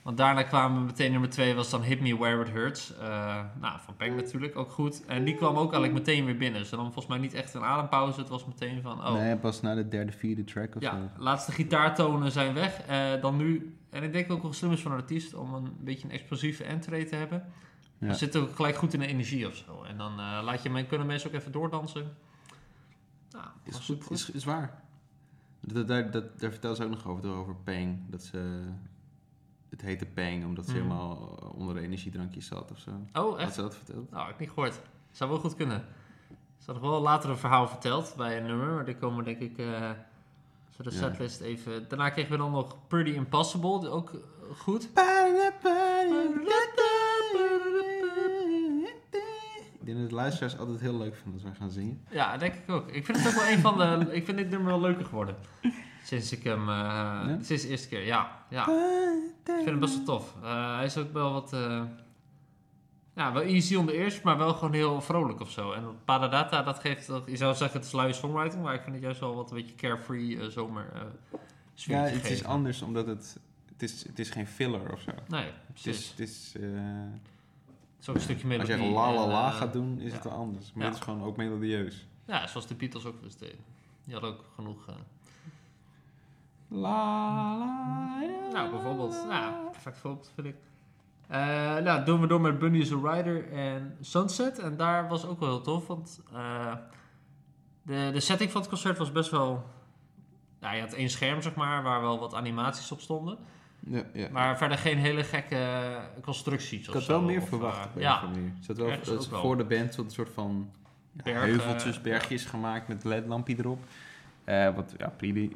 S3: Want daarna kwamen we meteen nummer 2, was dan Hit Me Where It Hurts. Eh, nou, van Peng natuurlijk, ook goed. En die kwam ook eigenlijk meteen weer binnen. Ze nam volgens mij niet echt een adempauze. Het was meteen van, oh,
S1: Nee, pas na de derde, vierde track of
S3: ja,
S1: zo.
S3: laatste gitaartonen zijn weg. Eh, dan nu, en ik denk ook wel slim is van een artiest om een beetje een explosieve entree te hebben.
S1: Ja.
S3: Dan zit ook gelijk goed in de energie of zo. En dan eh, laat je, men- kunnen mensen ook even doordansen. Nou,
S1: Is,
S3: was
S1: goed,
S3: supergoed.
S1: is, is waar. Dat, daar, dat, daar vertel ze ook nog over, over Pang. Dat ze... Het heette Pang omdat ze
S3: Mhm.
S1: helemaal onder de energiedrankjes zat of zo.
S3: Oh,
S1: Had
S3: echt?
S1: ze dat verteld?
S3: Nou, ik heb niet gehoord. Zou wel goed kunnen. Ze had nog wel later een verhaal verteld bij een nummer. Maar die komen denk ik... eh zo de
S1: Ja.
S3: setlist even... Daarna kregen we dan nog Pretty Impossible. die Ook eh, goed.
S1: Ik denk dat de luisteraars altijd heel leuk vinden als wij gaan zingen.
S3: Ja, denk ik ook. Ik vind het ook wel een van de. Ik vind dit nummer wel leuker geworden. Sinds ik hem. eh, Sinds de eerste keer, ja.
S4: Ah.
S3: ja. Ah. Ik vind hem best wel tof. Eh, hij is ook wel wat. eh, ja, wel easy on the ears, maar wel gewoon heel vrolijk of zo. En Paradata, dat geeft. Dat, je zou zeggen, het is luie songwriting, maar ik vind het juist wel wat een beetje carefree eh, zomer. eh sfeertje
S4: Ja, het is
S3: geven.
S4: anders omdat het... Het is, het is geen filler of zo.
S3: Nee,
S4: Het is...
S3: precies.
S4: Het is eh,
S3: Zo'n stukje
S4: als
S3: melodie.
S4: je la la
S3: en,
S4: la
S3: eh,
S4: gaat doen, is
S3: ja.
S4: het wel anders. Maar
S3: Ja.
S4: het is gewoon ook melodieus.
S3: Ja, zoals de Beatles ook dus deden. Die hadden ook genoeg. eh,
S4: La la...
S3: Nou, bijvoorbeeld. Ja, perfect voorbeeld vind ik. Eh, nou, doen we door met Bunny is a Rider en Sunset. En daar was ook wel heel tof, want eh, de, de setting van het concert was best wel... Ja, je had één scherm, zeg maar, waar wel wat animaties op stonden.
S1: Ja, ja.
S3: Maar verder geen hele gekke constructies
S1: Ik had wel meer verwacht op een of
S3: eh, ja,
S1: andere manier. Ze had wel,
S3: ergens
S1: dat
S3: ook
S1: ze
S3: wel.
S1: voor de band een soort van ja,
S3: Bergen,
S1: heuveltjes,
S3: ja.
S1: bergjes gemaakt met ledlampje erop.
S4: Eh, wat ja, prima,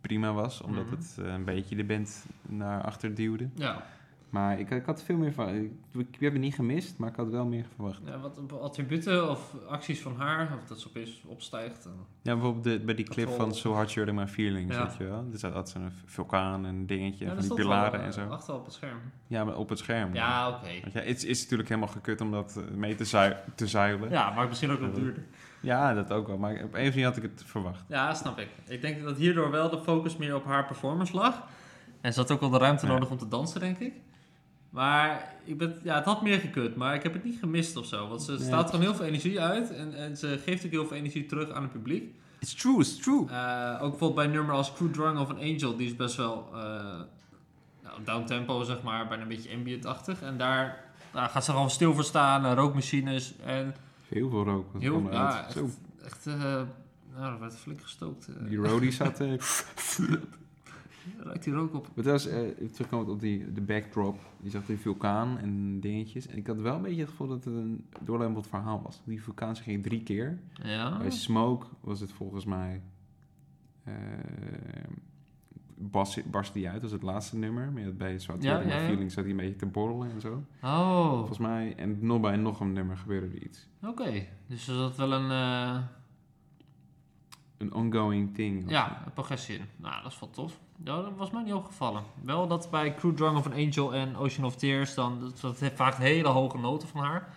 S4: prima was, omdat
S3: Mhm.
S4: het eh, een beetje de band naar achter duwde.
S3: ja.
S1: Maar ik, ik had veel meer van. Ik, ik heb het niet gemist, maar ik had wel meer verwacht.
S3: Ja, wat attributen of acties van haar, of dat ze opeens opstijgt. En,
S4: Ja, bijvoorbeeld de- bij die clip van
S3: Control.
S4: So Hard You're In My Feelings,
S3: Ja.
S4: weet je wel. Dus dat had zo'n vulkaan en dingetje,
S3: Ja,
S4: van die
S3: stond
S4: pilaren
S3: wel,
S4: en zo.
S3: eh, Achter op het scherm.
S4: Ja, maar op het scherm.
S3: Ja, oké.
S4: Want ja, het is- is natuurlijk helemaal gekut om dat eh, mee te, zui- te zuilen. Ja.
S3: Ja, maar misschien ook wat duurder.
S4: dat ook wel. Maar op een of andere manier had ik het verwacht.
S3: Ja, snap ik. Ik denk dat hierdoor wel de focus meer op haar performance lag. En ze had ook wel de ruimte
S4: Ja.
S3: nodig om te dansen, denk ik. Maar ik ben, ja, het had meer gekund, maar ik heb het niet gemist of zo. Want ze staat gewoon heel veel energie uit en, en ze geeft ook heel veel energie terug aan het publiek.
S4: It's true, it's true.
S3: Eh, ook bijvoorbeeld bij een nummer als Crew Drunk of an Angel, die is best wel eh nou, downtempo, zeg maar, bijna een beetje ambient-achtig. En daar nou, gaat ze gewoon stil voor staan, eh, rookmachines en
S1: Heel veel rook. wat
S3: heel,
S1: kwam eruit.
S3: ja, echt,
S1: Zo,
S3: echt eh, nou, er werd flink gestookt. eh.
S1: die roadies had. eh,
S3: ruikt hier ook op.
S1: [LAUGHS] Maar trouwens, eh terugkomend op die, de backdrop. Je zag die vulkaan en dingetjes. En ik had wel een beetje het gevoel dat het een doorlopend verhaal was. Die vulkaan ze ging drie keer.
S3: Ja.
S1: Bij Smoke was het volgens mij... eh barst, barst die uit, dat was het laatste nummer. Maar ja, bij Zwart
S3: Ja,
S1: ja,
S3: ja, ja.
S1: Feeling zat hij een beetje te borrelen en zo.
S3: Oh,
S1: Volgens mij, en nog bij nog een nummer gebeurde er iets.
S3: oké. Dus er zat wel een, eh,
S1: Een ongoing thing. of zo.
S3: ja, een progressie in. Nou, dat is wel tof. Ja, dat was mij niet opgevallen. Wel dat bij Crew Drunk of an Angel en Ocean of Tears, dan, dat, dat heeft vaak hele hoge noten van haar.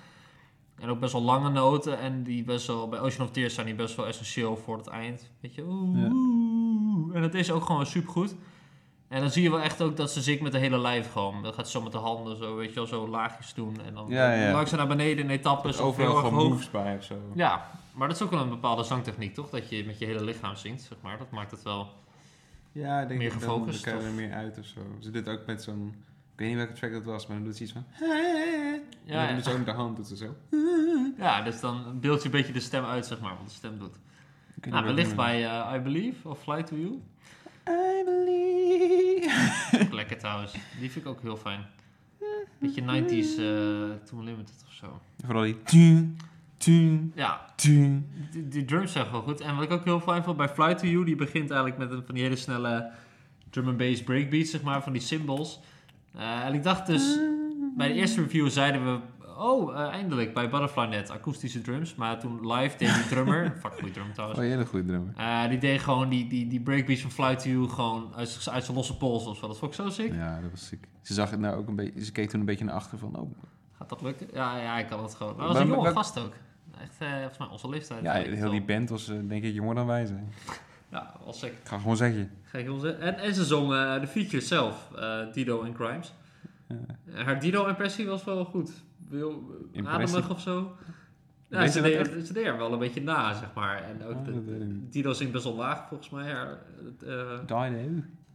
S3: En ook best wel lange noten. En die best wel, bij Ocean of Tears zijn die best wel essentieel voor het eind. Weet je, oeh,
S1: Ja.
S3: oeh. En dat is ook gewoon supergoed. En dan zie je wel echt ook dat ze zingt met de hele lijf gewoon. Dat gaat ze zo met de handen zo, weet je wel, zo laagjes doen. En dan
S4: Ja, ja.
S3: langzaam naar beneden in etappes. of
S4: Overal
S3: dus heel erg
S4: gewoon
S3: hoog.
S4: moves bij of zo.
S3: Ja, maar dat is ook wel een bepaalde zangtechniek, toch? Dat je met je hele lichaam zingt, zeg maar. Dat maakt het wel...
S4: Ja, ik denk
S3: Meer
S4: dat
S3: gefocust,
S4: Dan, dan
S3: of?
S4: kan je er meer uit of zo. Ze doet ook met zo'n... Ik weet niet welke track dat was, maar dan doet ze iets van... en
S3: Ja, Ah,
S4: dan
S3: ja.
S4: doet ze ook met de hand, doet ze zo.
S3: ja dus dan beeld je een beetje de stem uit, zeg maar, wat de stem
S4: Ik
S3: doet.
S4: weet
S3: Nou,
S4: niet welk
S3: wellicht
S4: nummer.
S3: bij eh, I Believe of Fly To You.
S4: I believe...
S3: Ook Lekker trouwens. Die vind ik ook heel fijn. Beetje 90s eh Too Limited of zo.
S4: Vooral die... Tien, tien,
S3: Ja,
S4: tien.
S3: die, die drums zijn gewoon goed. En wat ik ook heel fijn vond bij Fly To You, die begint eigenlijk met een van die hele snelle drum and bass breakbeats, zeg maar, van die cymbals. Eh, en ik dacht dus... Bij de eerste review zeiden we, oh, oh, eh, eindelijk bij Butterfly Net, akoestische drums. Maar toen live deed die
S1: [LAUGHS]
S3: drummer, fuck goede drum trouwens.
S1: Oh, een hele goede drummer.
S3: Eh, die deed gewoon die, die, die breakbeats van Fly To You gewoon uit, z- uit zijn losse pols of zo. Dat vond ik zo sick.
S1: Ja, dat was ziek. Ze zag het nou ook een beetje. Ze keek toen een beetje naar achter van. Oh,
S3: Gaat dat lukken? Ja, ja, ik kan dat gewoon. Maar
S1: Maar-
S3: dat was een
S1: maar-
S3: jonge
S1: maar-
S3: gast ook. Echt, eh, volgens mij onze leeftijd.
S1: ja,
S3: Weet ik
S1: heel
S3: wel.
S1: die band was eh, denk ik jonger dan wij zijn.
S3: Ja, was sick.
S1: Ik ga gewoon zeggen.
S3: Ga ik wel zeggen. En, en ze zong eh, de features zelf, eh, Dido en Crimes. Haar Dido-impressie was wel goed. Wil, eh,
S1: Impressie?
S3: ademig of zo. Ja,
S1: Weet
S3: ze
S1: je dat
S3: deed, ze deed er wel een beetje na, zeg maar. En ook
S1: Oh,
S3: de-
S1: dat weet ik niet.
S3: Dido zingt best wel laag, volgens mij. Haar, eh,
S1: Dido.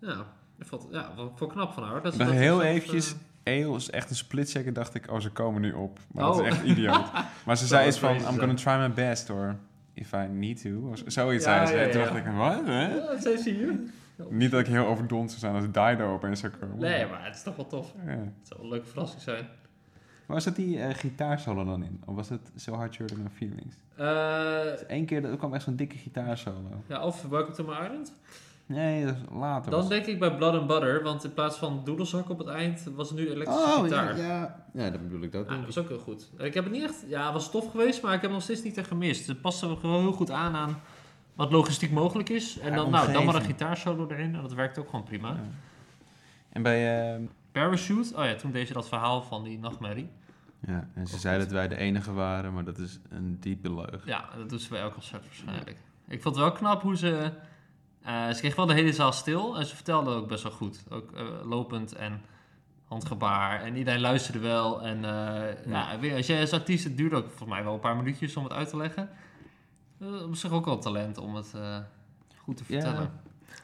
S3: ja, ik vond, ja, wel- vond ik knap van haar. Dat, ze
S1: Maar
S3: dat
S1: heel
S3: zelf,
S1: eventjes.
S3: eh,
S1: Heel is echt een split second dacht ik, oh ze komen nu op. Maar dat
S3: Oh.
S1: is echt
S3: [LAUGHS]
S1: idioot. Maar ze zei
S3: zou
S1: iets van,
S3: crazy
S1: I'm
S3: zijn.
S1: gonna try my best or if I need to. Of z- zoiets
S3: Ja,
S1: zei ze.
S3: ja,
S1: En toen
S3: ja.
S1: dacht ik, wat? hè?
S3: eh, ja, ze is hier.
S1: Niet dat ik heel overdond zou zijn als Dido opeens zou komen.
S3: Nee, maar het is toch wel tof.
S1: Ja.
S3: Het zou wel een leuke verrassing zijn.
S1: Maar zat die eh, gitaarsolo dan in? Of was het So Hard You're No Feelings?
S3: Eh,
S1: Eén keer dat- er kwam echt zo'n dikke gitaarsolo.
S3: ja, of Welcome to My Island.
S1: Nee, dat is later.
S3: Dan
S1: was-
S3: denk ik bij Blood and Butter, want in plaats van doedelzak op het eind was het nu
S1: Oh,
S3: elektrische
S8: Oh, ja,
S3: gitaar. Ja,
S8: ja. Ja, dat bedoel ik dat.
S3: Ah, dat was ook heel goed. Ik heb het niet echt, ja, het was tof geweest, maar ik heb hem nog steeds niet echt gemist. Het paste hem gewoon heel goed aan aan wat logistiek mogelijk is. En
S1: Ja,
S3: dan, nou, dan maar een
S1: omgeving.
S3: gitaarsolo erin en dat werkt ook gewoon prima.
S1: Ja. En bij... eh,
S3: Parachute, oh ja, toen deed ze dat verhaal van die nachtmerrie.
S1: Ja, en ze zei dat wij de enige waren, maar dat is een diepe leugen.
S3: Ja, dat doen ze bij elk concert waarschijnlijk. Ik vond het wel knap hoe ze... eh, ze kreeg wel de hele zaal stil en ze vertelde ook best wel goed. Ook eh, lopend en handgebaar. En iedereen luisterde wel. En eh, ja. weet je, als jij als artiest, het duurde ook volgens mij wel een paar minuutjes om het uit te leggen. Eh, op zich ook wel talent om het eh, goed te
S1: Ja.
S3: vertellen.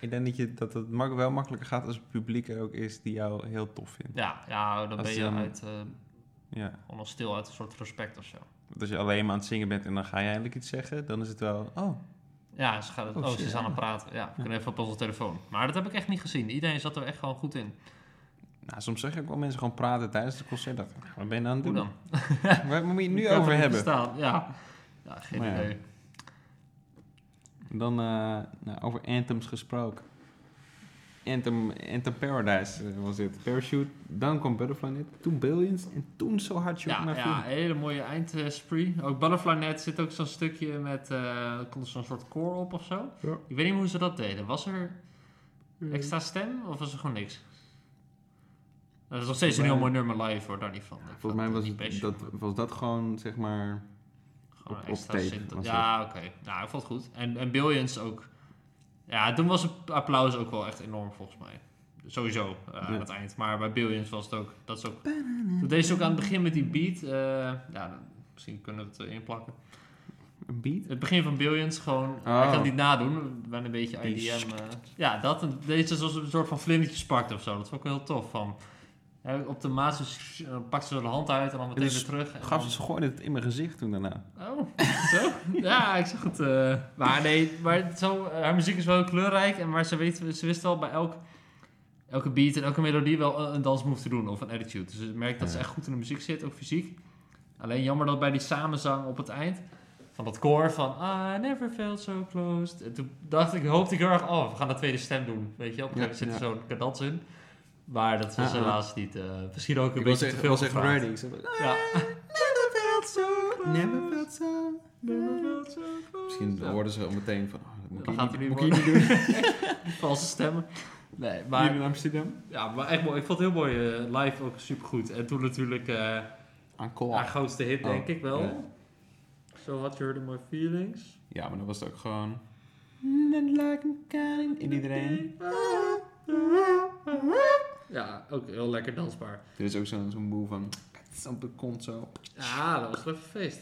S1: Ik denk dat, je, dat het mak wel makkelijker gaat als het publiek er ook is die jou heel tof vindt.
S3: Ja, ja dan
S1: Als
S3: ben je
S1: je dan-
S3: uit, eh
S1: Ja.
S3: gewoon al stil uit een soort respect of zo.
S1: Want als je alleen maar aan het zingen bent en dan ga je eindelijk iets zeggen, dan is het wel... Oh,
S3: Ja, ze, gaat,
S1: Oh,
S3: oh, ze
S1: shit,
S3: is aan het praten. Ja, we kunnen even op onze telefoon. Maar dat heb ik echt niet gezien. Iedereen zat er echt gewoon goed in.
S1: nou, soms zeg je ook wel mensen gewoon praten tijdens het concert. Dacht, ik, wat ben je nou aan
S3: Hoe
S1: het doen?
S3: dan?
S1: Waar moet je het nu
S3: Ik kan
S1: over
S3: er niet
S1: hebben?
S3: Staan. Ja. ja, geen
S1: Maar ja.
S3: idee.
S1: Dan eh, nou, over anthems gesproken. Anthem, Anthem Paradise eh, was dit. Parachute, dan kwam Butterfly Net, toen Billions en toen zo hard Shoot
S3: Ja,
S1: naar
S3: ja,
S1: Feeling.
S3: een hele mooie eindspree. Ook Butterfly Net zit ook zo'n stukje met... eh er komt zo'n soort koor op of zo.
S1: Ja.
S3: Ik weet niet meer hoe ze dat deden. Was er extra stem of was er gewoon niks? Dat is nog steeds een heel mooi nummer live hoor, daar niet van. Ik vond
S1: Volgens mij
S3: het
S1: was,
S3: niet
S1: het-
S3: best,
S1: dat, was dat gewoon, zeg maar...
S3: Gewoon
S1: op-
S3: een extra
S1: op tape
S3: synth-
S1: was
S3: Ja, oké. Nou, ik vond het goed. En, en Billions ook. Ja, toen was het applaus ook wel echt enorm volgens mij. Sowieso eh, aan
S1: Ja.
S3: het eind. Maar bij Billions was het ook. Dat is ook. Toen deed ze ook aan het begin met die beat. eh, ja, dan- misschien kunnen we het erin plakken.
S1: Een beat?
S3: Het begin van Billions gewoon.
S1: Oh.
S3: Ik kan het niet nadoen. Bijna een beetje IDM.
S1: Die
S3: eh, ja, dat. En deze zoals een soort van vlindertjes pakt of zo. Dat vond ik wel heel tof. Van, ja, op de maat dus, eh, pakt ze de hand uit en dan meteen
S1: Dus
S3: weer terug. En
S1: Gaf
S3: dan-
S1: ze, ze gooide het in mijn gezicht toen daarna.
S3: Oh, zo? ja, ik zag het. eh, maar nee, maar zo, eh, haar muziek is wel heel kleurrijk. En maar ze, weet, ze wist wel bij elk, elke beat en elke melodie wel een, een dansmove te doen of een attitude. Dus je merkt dat ze
S1: Ja.
S3: echt goed in de muziek zit, ook fysiek. Alleen jammer dat bij die samenzang op het eind van dat koor van I never felt so close. En toen dacht ik, hoopte ik heel erg, oh, we gaan de tweede stem doen. Weet je, op een
S8: Ja,
S3: gegeven moment zit er zo'n cadans in. Maar dat was
S1: Ah, ah.
S3: helaas niet. eh, misschien ook een
S8: Ik was
S3: beetje
S8: echt-
S3: te veel
S8: was echt
S3: gevraagd.
S8: ready. Ik zei,
S3: Ja.
S1: Never felt so
S8: Never felt so. Misschien eh,
S3: Ja.
S8: hoorden ze al meteen van... Oh, dat moet ik
S3: We
S8: hier
S3: gaan
S8: niet-
S3: het
S8: moet
S3: er nu
S8: ik
S3: worden.
S8: hier niet doen.
S3: Valse stemmen. Nee, [LAUGHS] maar,
S1: in Amsterdam?
S3: ja, maar echt mooi. Ik vond het heel mooi. eh, live ook supergoed. En toen natuurlijk eh, haar
S8: Encore.
S3: grootste hit,
S8: Oh,
S3: denk ik wel.
S8: ja.
S3: So What You Heard of My Feelings.
S8: Ja, maar dan was het ook gewoon...
S3: Mm,
S8: And like I'm kind in iedereen.
S3: Ja, ook heel lekker dansbaar.
S8: Er is ook zo'n zo'n move van... Het is op de kont zo.
S3: Ja, dat was een lekker feest.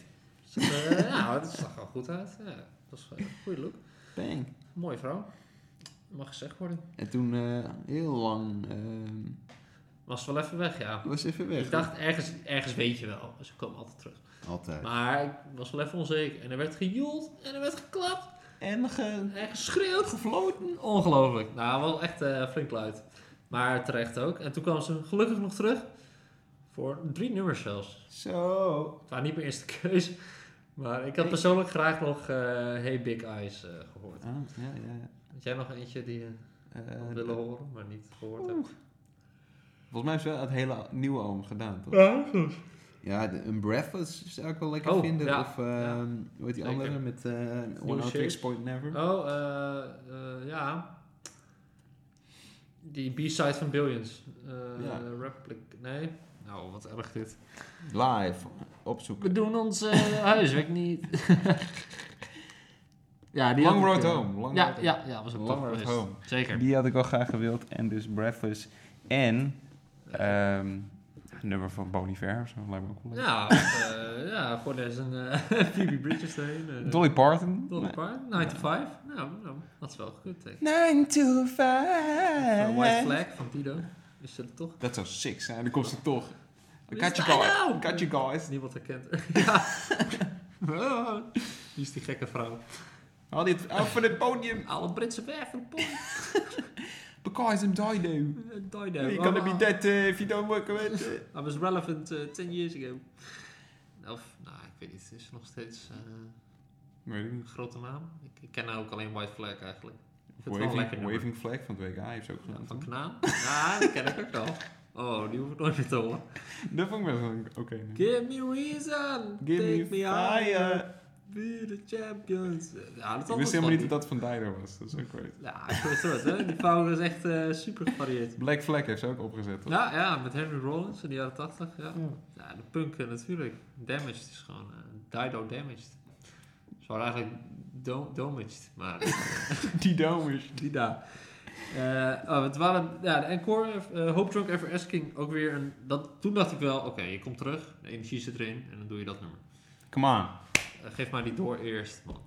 S3: Dus, eh, ja, het zag er goed uit. Ja, dat was eh, een goede look.
S8: Bang.
S3: Mooie vrouw. Mag gezegd worden.
S8: En toen eh, heel lang... eh,
S3: Was wel even weg, ja.
S8: was even weg.
S3: Ik dacht, ergens, ergens weet je wel. Ze komen altijd terug.
S8: Altijd.
S3: Maar ik was wel even onzeker. En er werd gejoeld. En er werd geklapt.
S8: En ge...
S3: En geschreeuwd, gefloten. Ongelooflijk. Nou, wel echt eh, flink luid. Maar terecht ook. En toen kwam ze gelukkig nog terug. Voor drie nummers zelfs.
S8: Zo.
S3: Het waren niet mijn eerste [LAUGHS] keus. Maar ik had persoonlijk graag nog eh Hey Big Eyes eh, gehoord.
S8: Ah, ja, ja, ja.
S3: Had jij nog eentje die je
S8: Eh,
S3: willen horen, maar niet gehoord hebt?
S8: Volgens mij is wel het hele nieuwe album gedaan, toch?
S3: Ja,
S1: Ja, de Unbreathless zou ik wel lekker
S3: Oh,
S1: vinden.
S3: ja,
S1: Of, eh,
S3: ja.
S1: hoe heet die
S3: Zeker.
S1: andere met eh One
S3: Nieuwe
S1: Out Tricks
S3: series.
S1: Point Never?
S3: Oh, eh, eh, ja. Die B-side van Billions. Eh
S1: Ja.
S3: Replic. Nee. Nou, wat erg dit.
S1: Live, opzoeken.
S3: We doen ons eh, huiswerk niet. [LAUGHS] ja, die
S1: Long
S3: had ik,
S1: Road
S3: eh,
S1: Home. Long
S3: Ja,
S1: Road Home.
S3: ja, ja, was ook
S1: Long
S3: top
S1: Road
S3: geweest.
S1: Home.
S3: Zeker.
S4: Die had ik wel graag gewild. En dus Breathless. En ehm, een nummer van Bon Iver of zo. Lijkt me ook wel leuk.
S3: Ja, eh, ja, gewoon eens een eh, [LAUGHS] Phoebe Bridges erheen. eh,
S4: Dolly Parton.
S3: Dolly Parton, 9 to 5. Nou, nou, dat is wel gekund, denk ik.
S4: 9 to 5.
S3: Van White Flag van Dido. Is dat toch?
S1: Dat zou sick zijn. Dan komt ze toch. I
S3: Wie
S1: Got
S3: is
S1: you
S3: dat
S1: guys.
S3: nou?
S1: Got you guys.
S3: Niemand herkent [LAUGHS] ja. Oh. Wie is die gekke vrouw?
S1: Haal dit af van het podium.
S3: Alle Britse werven, pom.
S1: Because I'm Dido.
S3: Dido.
S1: You're gonna be
S3: Ah,
S1: dead eh, if you don't work with [LAUGHS] it.
S3: I was relevant eh, 10 years ago. Of, nou, ik weet niet. Het is nog steeds eh,
S1: Weet ik
S3: een
S1: niet.
S3: grote naam. Ik, ik ken ook alleen White Flag eigenlijk. Ik vind het wel een lekker
S1: Waving,
S3: nummer.
S1: waving Flag van het WK heeft ze ook
S3: Ja,
S1: gedaan.
S3: van
S1: toch?
S3: Knaan? Ja, die ken ik ook wel. Oh, die hoef ik nooit meer te horen.
S1: Dat vond ik best wel een- oké. nee.
S3: Give me reason, take me, higher, be the champions. Ja, dat
S1: Ik wist helemaal niet dat dat van Dido was. Dat is ook weet.
S3: Ja, ik wist het, hè. Die power is echt eh, super gevarieerd.
S1: Black Flag heeft ze ook opgezet. toch? [LAUGHS]
S3: Ja, ja, met Henry Rollins in de jaren 80. Ja. ja, de punk eh, natuurlijk. Damaged is gewoon eh, Dido Damaged. Ze waren eigenlijk do- damaged, maar
S1: Die domers.
S3: die daar. Eh, oh, het waren, ja, de encore, eh, Hope Drunk Ever Asking, ook weer een... Dat, toen dacht ik wel, oké, je komt terug, de energie zit erin en dan doe je dat nummer.
S1: Come on.
S3: Eh, geef maar die door eerst, man.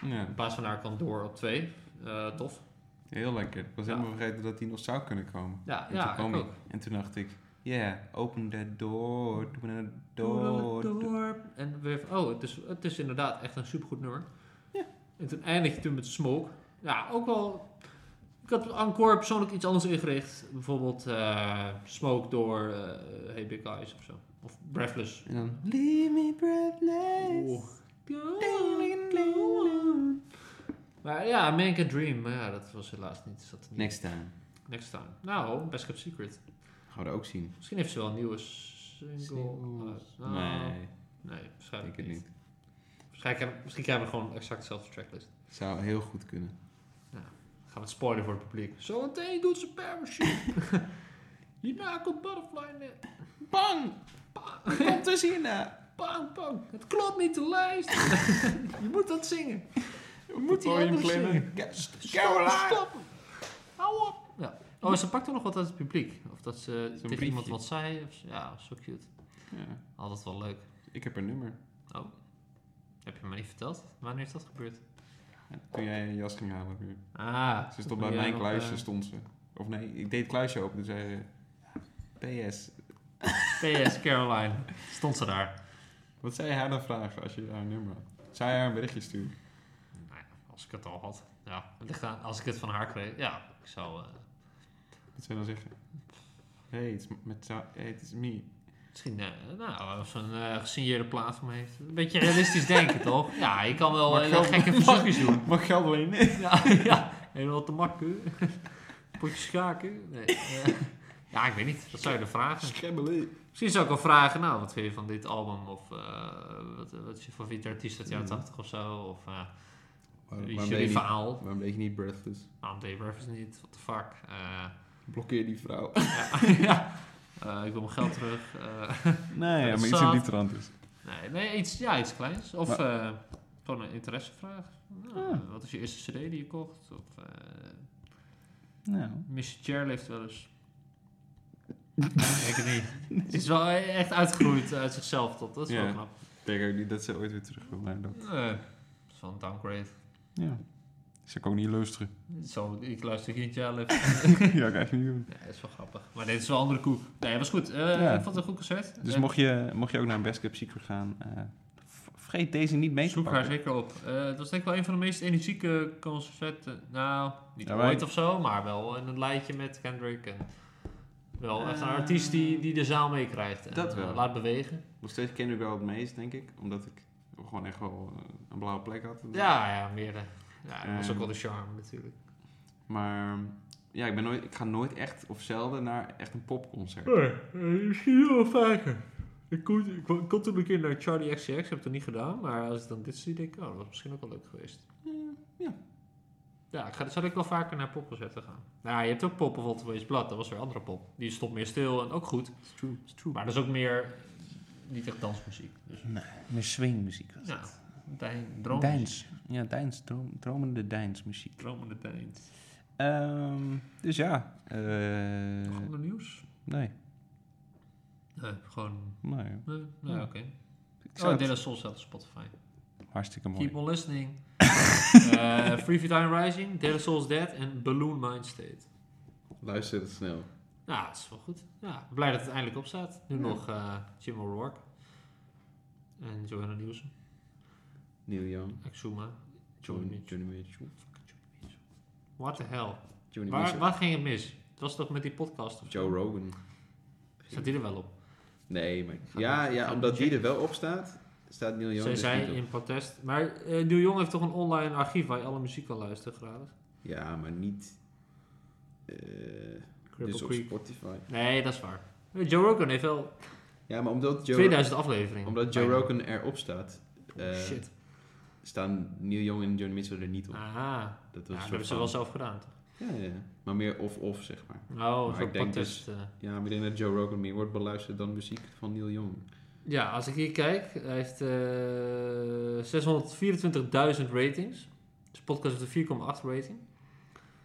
S1: Ja,
S3: In plaats van haar kan door op twee. Eh, tof.
S1: heel lekker. Ik was
S3: Ja.
S1: helemaal vergeten dat die nog zou kunnen komen.
S3: Ja,
S1: En
S3: ja,
S1: toen kwam
S3: ik
S1: hij.
S3: ook.
S1: En toen dacht ik, yeah, open that door, open that
S3: Door,
S1: door.
S3: door. En weer van, oh, het is, het is inderdaad echt een supergoed nummer. En toen eindig je toen met Smoke. Ja, ook wel... Ik had encore persoonlijk iets anders ingericht. Bijvoorbeeld eh, Smoke door eh, Hey Big Eyes of zo. Of Breathless.
S1: En dan, leave me breathless.
S3: Oeh. Maar ja, Make a Dream. Maar ja, dat was helaas niet. Zat er niet.
S1: Next time.
S3: Next time. Nou, Best Kept Secret.
S1: Gaan we dat ook zien.
S3: Misschien heeft ze wel een nieuwe single. uit. Nou,
S1: nee,
S3: Nee,
S1: ik denk
S3: waarschijnlijk
S1: het
S3: niet.
S1: niet.
S3: Waarschijnlijk hebben- misschien krijgen we gewoon exact dezelfde tracklist.
S1: Zou heel goed kunnen.
S3: Gaan we het spoilen voor het publiek. Zometeen doet ze [LAUGHS] parachute. Hierna komt butterfly net.
S1: Bang! Komt dus hierna.
S3: Bang, bang. Het klopt niet de lijst. [LAUGHS] Je moet dat zingen.
S1: We
S3: moeten die andere zingen.
S1: Caroline!
S3: Stop hem. Hou op. Ja. Oh, ze pakte nog wat uit het publiek. Of dat ze tegen
S1: briefje.
S3: iemand wat zei. Of, ja, zo cute.
S1: Ja,
S3: Altijd wel leuk.
S1: ik heb haar nummer.
S3: Heb je me niet verteld? Wanneer is dat gebeurd?
S1: Ja, Toen jij je jas ging halen. weer.
S3: Ah.
S1: Ze stond
S3: toen
S1: bij
S3: jij
S1: mijn dus-
S3: nog,
S1: kluisje,
S3: eh,
S1: stond ze. Of nee, ik deed het kluisje open, toen zei ze... PS,
S3: PS Caroline. [LAUGHS] Stond ze daar.
S1: wat zou je haar dan vragen als je haar nummer had? Zou je haar een berichtje sturen?
S3: Nou ja, als ik het al had. Ja, het ligt aan. Als ik het van haar kreeg. Ja, ik zou... eh,
S1: Wat zou je dan zeggen? Hey, it's, m- met, zou- hey, it's me.
S3: misschien... eh, nou, als ze een eh, gesigneerde plaat van me heeft. Een beetje realistisch [LAUGHS] denken, toch? Ja, je kan wel
S1: Maar
S3: hele
S1: geld-
S3: gekke verzoekjes doen.
S1: Mag ik geld [LAUGHS] lenen?
S3: Ja, [LAUGHS] ja. Helemaal te makken. [LAUGHS] Potje schaken. Nee. eh, ja, ik weet niet. Wat zou je er vragen?
S1: Schemmelen.
S3: Misschien zou ik wel vragen, nou, wat vind je van dit album? Of eh, wat, wat is je favoriete artiest uit de jaren
S1: Mhm.
S3: 80 of zo? Of eh, wie is
S1: Waarom, waarom, deed
S3: jullie
S1: je niet,
S3: verhaal? Nou,
S1: waarom deed je niet Breathless?
S3: Waarom deed Breakfast niet? What the fuck? Eh,
S1: Blokkeer die vrouw.
S3: ja, [LAUGHS] ja. Eh, ik wil mijn geld terug. Eh, [LAUGHS]
S4: Nee, ja,
S3: Ja,
S4: maar iets in
S3: zaad.
S4: die trant is.
S3: nee, nee iets, ja, iets kleins. Of eh, gewoon een interessevraag. Nou, Wat is je eerste cd die je kocht? Of eh
S4: Nou.
S3: Mr. Chair leeft wel eens. Ik het niet. Het is wel echt uitgegroeid uit zichzelf tot. Dat is
S1: Ja.
S3: wel knap.
S1: Ik denk ook niet dat ze ooit weer terug wil naar dat.
S3: Nee, dat is wel een downgrade.
S4: Ja. Zou ik ook niet [LAUGHS] luisteren.
S3: Zo, ik luister geen Chair
S4: ja, ik echt niet doen.
S3: Nee, dat is wel grappig. Maar dit is wel een andere koe. Nee, was goed. Eh,
S4: Ja.
S3: Ik vond het een goed concert.
S4: Dus
S3: Eh,
S4: mocht, je, mocht je ook naar een Best Cup Secret gaan, eh, v- vergeet deze niet mee te
S3: Zoek haar
S4: pakken.
S3: zeker op. Eh, het was denk ik wel een van de meest energieke concerten. Nou, niet
S4: Ja, wij-
S3: ooit of zo, maar wel in een lijntje met Kendrick. En wel echt een artiest die, die de zaal meekrijgt. en,
S1: dat
S3: eh,
S1: wel.
S3: laat bewegen.
S1: Nog steeds ken ik wel het meest, denk ik. Omdat ik gewoon echt wel eh, een blauwe plek had.
S3: Ja, ja, meer. eh, ja, dat was
S1: Ehm.
S3: ook wel de charme natuurlijk.
S1: Maar ehm, ja, ik, ben
S3: eh,
S1: nooit, ik ga nooit echt of zelden naar echt een popconcert.
S3: Misschien wel vaker. Ik kon, ik kon- ik kon toen een keer naar Charlie XCX, heb het toen niet gedaan, maar als ik dan dit zie, denk ik, oh, dat was misschien ook wel leuk geweest.
S1: ja.
S3: Ja, ik ga, zal ik wel vaker naar popconcerten gaan. Nou, je hebt ook pop bijvoorbeeld van Wees Blad, dat was weer andere pop. Die stond meer stil en ook goed,
S1: It's true, it's true.
S3: maar dat is ook meer niet echt dansmuziek. Dus,
S4: Meer swingmuziek was
S3: ja,
S4: het.
S3: Dijn, droom,
S4: Deins. Ja, Deins. Droom, dromende Deins-muziek.
S3: Dromende Dijn.
S4: Ehm, dus ja. eh,
S3: Nog ander nieuws?
S4: nee,
S3: Nee, gewoon...
S4: nee.
S3: Nee, nee,
S4: Ja.
S3: oké.
S4: Ik zou
S3: Oh,
S4: het-
S3: Dilla Soul staat op Spotify.
S4: Hartstikke mooi.
S3: Keep on
S1: [LAUGHS]
S3: listening. Eh, Free Time Rising, Dead Souls Dead en Balloon Mind State.
S1: Luister het snel.
S3: Nou, dat is wel goed. Ja, blij dat het eindelijk op staat. Nu nog eh, Jim O'Rourke. En Johanna Nielsen.
S1: Neil Young,
S3: Exuma. Johnny
S1: Johnny,
S3: Mitchell.
S1: Johnny Mitchell.
S3: What the hell?
S1: Johnny
S3: Waar,
S1: Mitchell.
S3: waar ging het mis? Het was toch met die podcast of zo?
S1: Joe Rogan.
S3: Staat die er wel op?
S1: Nee, maar...
S3: Gaat
S1: Ja,
S3: het- gaat
S1: ja omdat
S3: het
S1: die er wel op staat, staat Neil Young
S3: Zij
S1: dus
S3: zei
S1: niet op.
S3: in protest. Maar eh Nieuw Jong heeft toch een online archief waar je alle muziek kan luisteren gratis?
S1: Ja, maar niet... eh,
S3: Cripple
S1: dus op
S3: Creek.
S1: Spotify.
S3: Nee, dat is waar. Eh, Joe Rogan heeft wel
S1: Ja, maar omdat Joe,
S3: 2000 afleveringen.
S1: omdat Joe
S3: Bijna.
S1: Rogan erop staat,
S3: Oh,
S1: eh,
S3: shit.
S1: staan Neil Young en Johnny Mitchell er niet op.
S3: Aha. Ja,
S1: Dat was een
S3: dat
S1: soort
S3: hebben ze
S1: van-
S3: wel zelf gedaan, toch?
S1: Ja, ja, ja. Maar meer of-of, zeg maar.
S3: Oh,
S1: Maar
S3: zo'n
S1: ik denk dus-
S3: protest. eh.
S1: Ja, maar ik denk dat Joe Rogan meer wordt beluisterd dan muziek van Neil Young.
S3: Ja, als ik hier kijk, hij heeft eh 624.000 ratings. Zijn podcast heeft een 4,8 rating.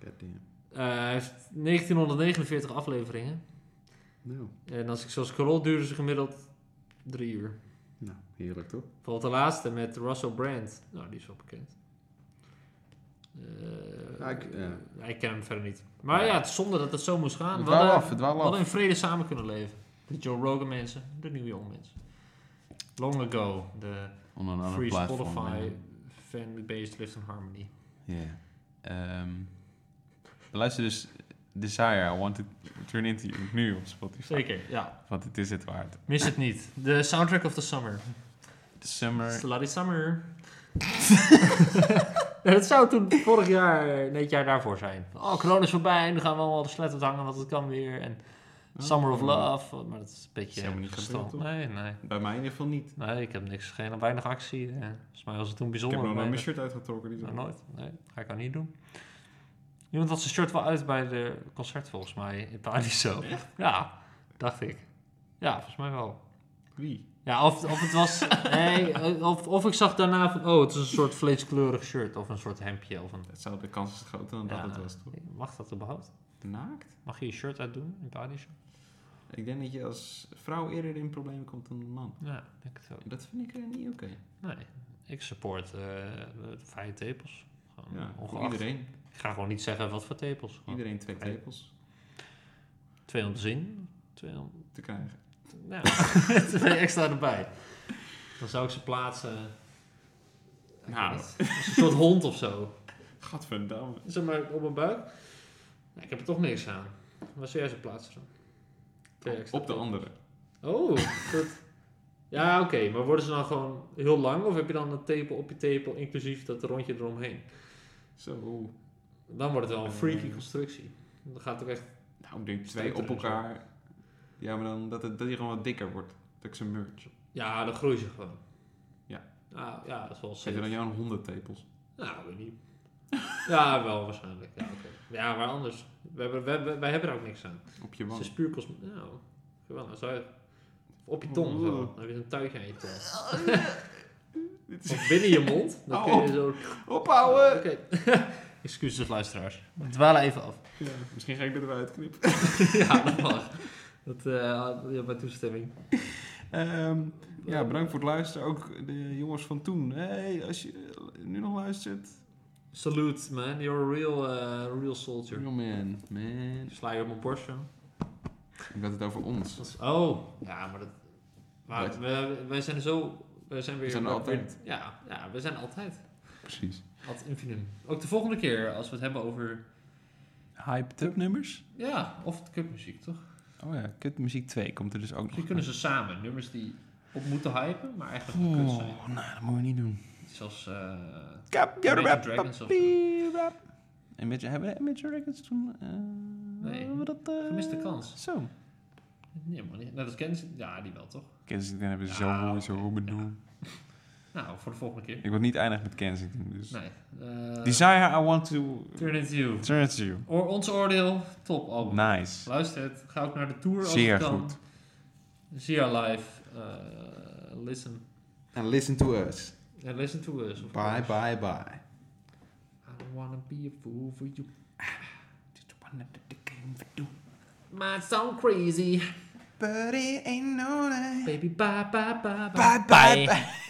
S1: Goddamn.
S3: Eh, hij heeft 1949 afleveringen.
S1: Nou,
S3: En als ik zo scroll, duurde ze gemiddeld drie uur.
S1: nou, heerlijk toch?
S3: Bijvoorbeeld de laatste met Russell Brand. Nou, die is wel bekend. Eh,
S1: Ja, ik- ja.
S3: eh, ik ken hem verder niet. Maar ja, het is zonde dat het zo moest gaan.
S4: Het
S3: We
S4: dwaal
S3: hadden-
S4: af, het dwaal
S3: we
S4: af.
S3: hadden in vrede samen kunnen leven. De Joe Rogan mensen, de New Young mensen. Long ago, de
S4: Onder een ander
S3: Free
S4: platform.
S3: Spotify,
S4: ja.
S3: fan-based Lift and Harmony.
S4: Ja. Ehm, luister dus Desire, I Want to Turn Into You nu op Spotify.
S3: Zeker, ja.
S4: Want het is het waard.
S3: Mis het niet. De soundtrack of the summer.
S4: The Summer.
S3: Slutty summer. [LAUGHS] Het zou toen vorig jaar, nee, het jaar daarvoor zijn. Oh, corona is voorbij, nu gaan we allemaal de slet hangen, want het kan weer. En Summer of Love, maar dat is een beetje
S1: helemaal niet
S3: gestand.
S1: gebeurd,
S3: Nee, nee.
S1: Bij mij in ieder geval niet.
S3: Nee, ik heb niks, geen, weinig actie. eh. Volgens mij was het toen
S1: Ik
S3: bijzonder.
S1: heb nog
S3: maar
S1: nooit mijn
S3: dat-
S1: shirt uitgetrokken. Die
S3: Nou, nooit. Nee, ga ik al niet doen. Iemand had zijn shirt wel uit bij de concert volgens mij in Paradiso. Ja, dacht ik. Ja, volgens mij wel.
S1: Wie?
S3: Ja, of, of het was... nee, of, of ik zag daarna van... Oh, het is een soort vleeskleurig shirt of een soort hempje. Of een,
S1: Dat zou de kans is groter dan
S3: Ja.
S1: dat het was, toch?
S3: mag dat überhaupt?
S1: Naakt?
S3: Mag je je shirt uitdoen in Paradiso?
S1: Ik denk dat je als vrouw eerder in problemen komt dan een man.
S3: Ja, ik denk het wel.
S1: En Dat vind ik eh, niet oké.
S3: Nee, ik support eh, de vrije tepels. Gewoon
S1: Ja, voor
S3: ongeacht.
S1: iedereen.
S3: Ik ga gewoon niet zeggen wat voor tepels. Gewoon
S1: Iedereen twee
S3: Vrij.
S1: tepels
S3: Twee om de zin, twee om
S1: te krijgen.
S3: Nou, [LAUGHS] twee extra erbij. Dan zou ik ze plaatsen.
S1: Nou.
S3: Als een soort hond of zo.
S1: Gadverdamme.
S3: Zeg maar op mijn buik. Nee, ik heb er toch niks aan. Waar zou jij ze plaatsen dan? Twee extra.
S1: Op de andere.
S3: Oh, goed. Ja, oké. Maar worden ze dan gewoon heel lang? Of heb je dan een tepel op je tepel, inclusief dat rondje eromheen?
S1: Zo.
S3: Dan wordt het wel een freaky constructie. Dan gaat het ook echt...
S1: Nou, ik denk
S3: Stuit
S1: twee op
S3: er dus
S1: elkaar. Ja, maar dan dat, het, dat die gewoon wat dikker wordt. Dat ik ze merge.
S3: Ja, dan groeien ze gewoon.
S1: Ja.
S3: Ah, ja, dat is wel
S1: Zet
S3: safe.
S1: er dan jouw honderd tepels?
S3: Nou, weet niet. Ja, wel waarschijnlijk. Ja, oké. ja maar anders. We hebben, we, we- wij hebben er ook niks aan.
S1: Op je
S3: Het
S1: wang.
S3: is puur cosme... Nou, gewoon als je... Op je tong zo. Dan heb je een tuigje aan je [LAUGHS] tong. Of binnen je mond. Dan kun je zo...
S1: Ophouden!
S3: Oké. [LAUGHS] Excuses luisteraars. We dwalen even af.
S1: Ja, misschien ga ik dit eruit knippen.
S3: [LAUGHS] ja, dat mag. Dat, eh ja, mijn toestemming.
S1: Ehm, ja, bedankt voor het luisteren. Ook de jongens van toen. Hey, als je nu nog luistert.
S3: Salute, man. You're a real, eh, real soldier.
S1: Real man, man.
S3: Sla je op mijn borst, jong.
S1: Ik had het over ons.
S3: Dat is- Oh, ja, maar dat. Maar
S1: Wat?
S3: we, wij zijn zo. Wij zijn weer.
S1: We zijn er
S3: weer-
S1: altijd.
S3: ja, ja, we zijn altijd.
S1: Precies.
S3: Ad infinitum. Ook de volgende keer als we het hebben over.
S4: Hyped Up nummers?
S3: Ja, of de cupmuziek, toch?
S4: Oh ja, Kut Muziek 2 komt er dus ook
S3: Misschien
S4: nog.
S3: kunnen ze samen nummers die op moeten hypen, maar eigenlijk kut zijn.
S4: Oh, nou, dat moeten we niet doen.
S3: Zoals. eh
S4: Kap,
S3: Imagine Dragons of
S4: Imagine, hebben we Imagine Records toen? eh,
S3: Nee.
S4: hebben we dat, eh,
S3: Gemiste kans.
S4: Zo.
S3: Nee, maar niet. Nou, dat kennen ze. Ja, die wel toch?
S1: Kensington hebben ze
S3: Ja,
S1: zo mooi,
S3: oké,
S1: zo benoemd.
S3: Nou, voor de volgende keer.
S1: Ik wil niet eindigen met Kensington, dus...
S3: Nee. eh,
S1: Desire, I want to
S3: Turn into you.
S1: turn it to you.
S3: Oor, ons oordeel, top album.
S1: Nice.
S3: Luister het. Ga ook naar de tour als
S1: Zeer
S3: het kan.
S1: goed.
S3: Zie haar live. eh, listen.
S9: En listen to us.
S3: En listen to us. of
S9: Bye,
S3: course.
S9: bye, bye.
S3: I don't wanna be a fool for you. Man, sound crazy.
S10: But it ain't no
S3: Baby, bye, bye, bye, bye.
S10: Bye, bye, bye.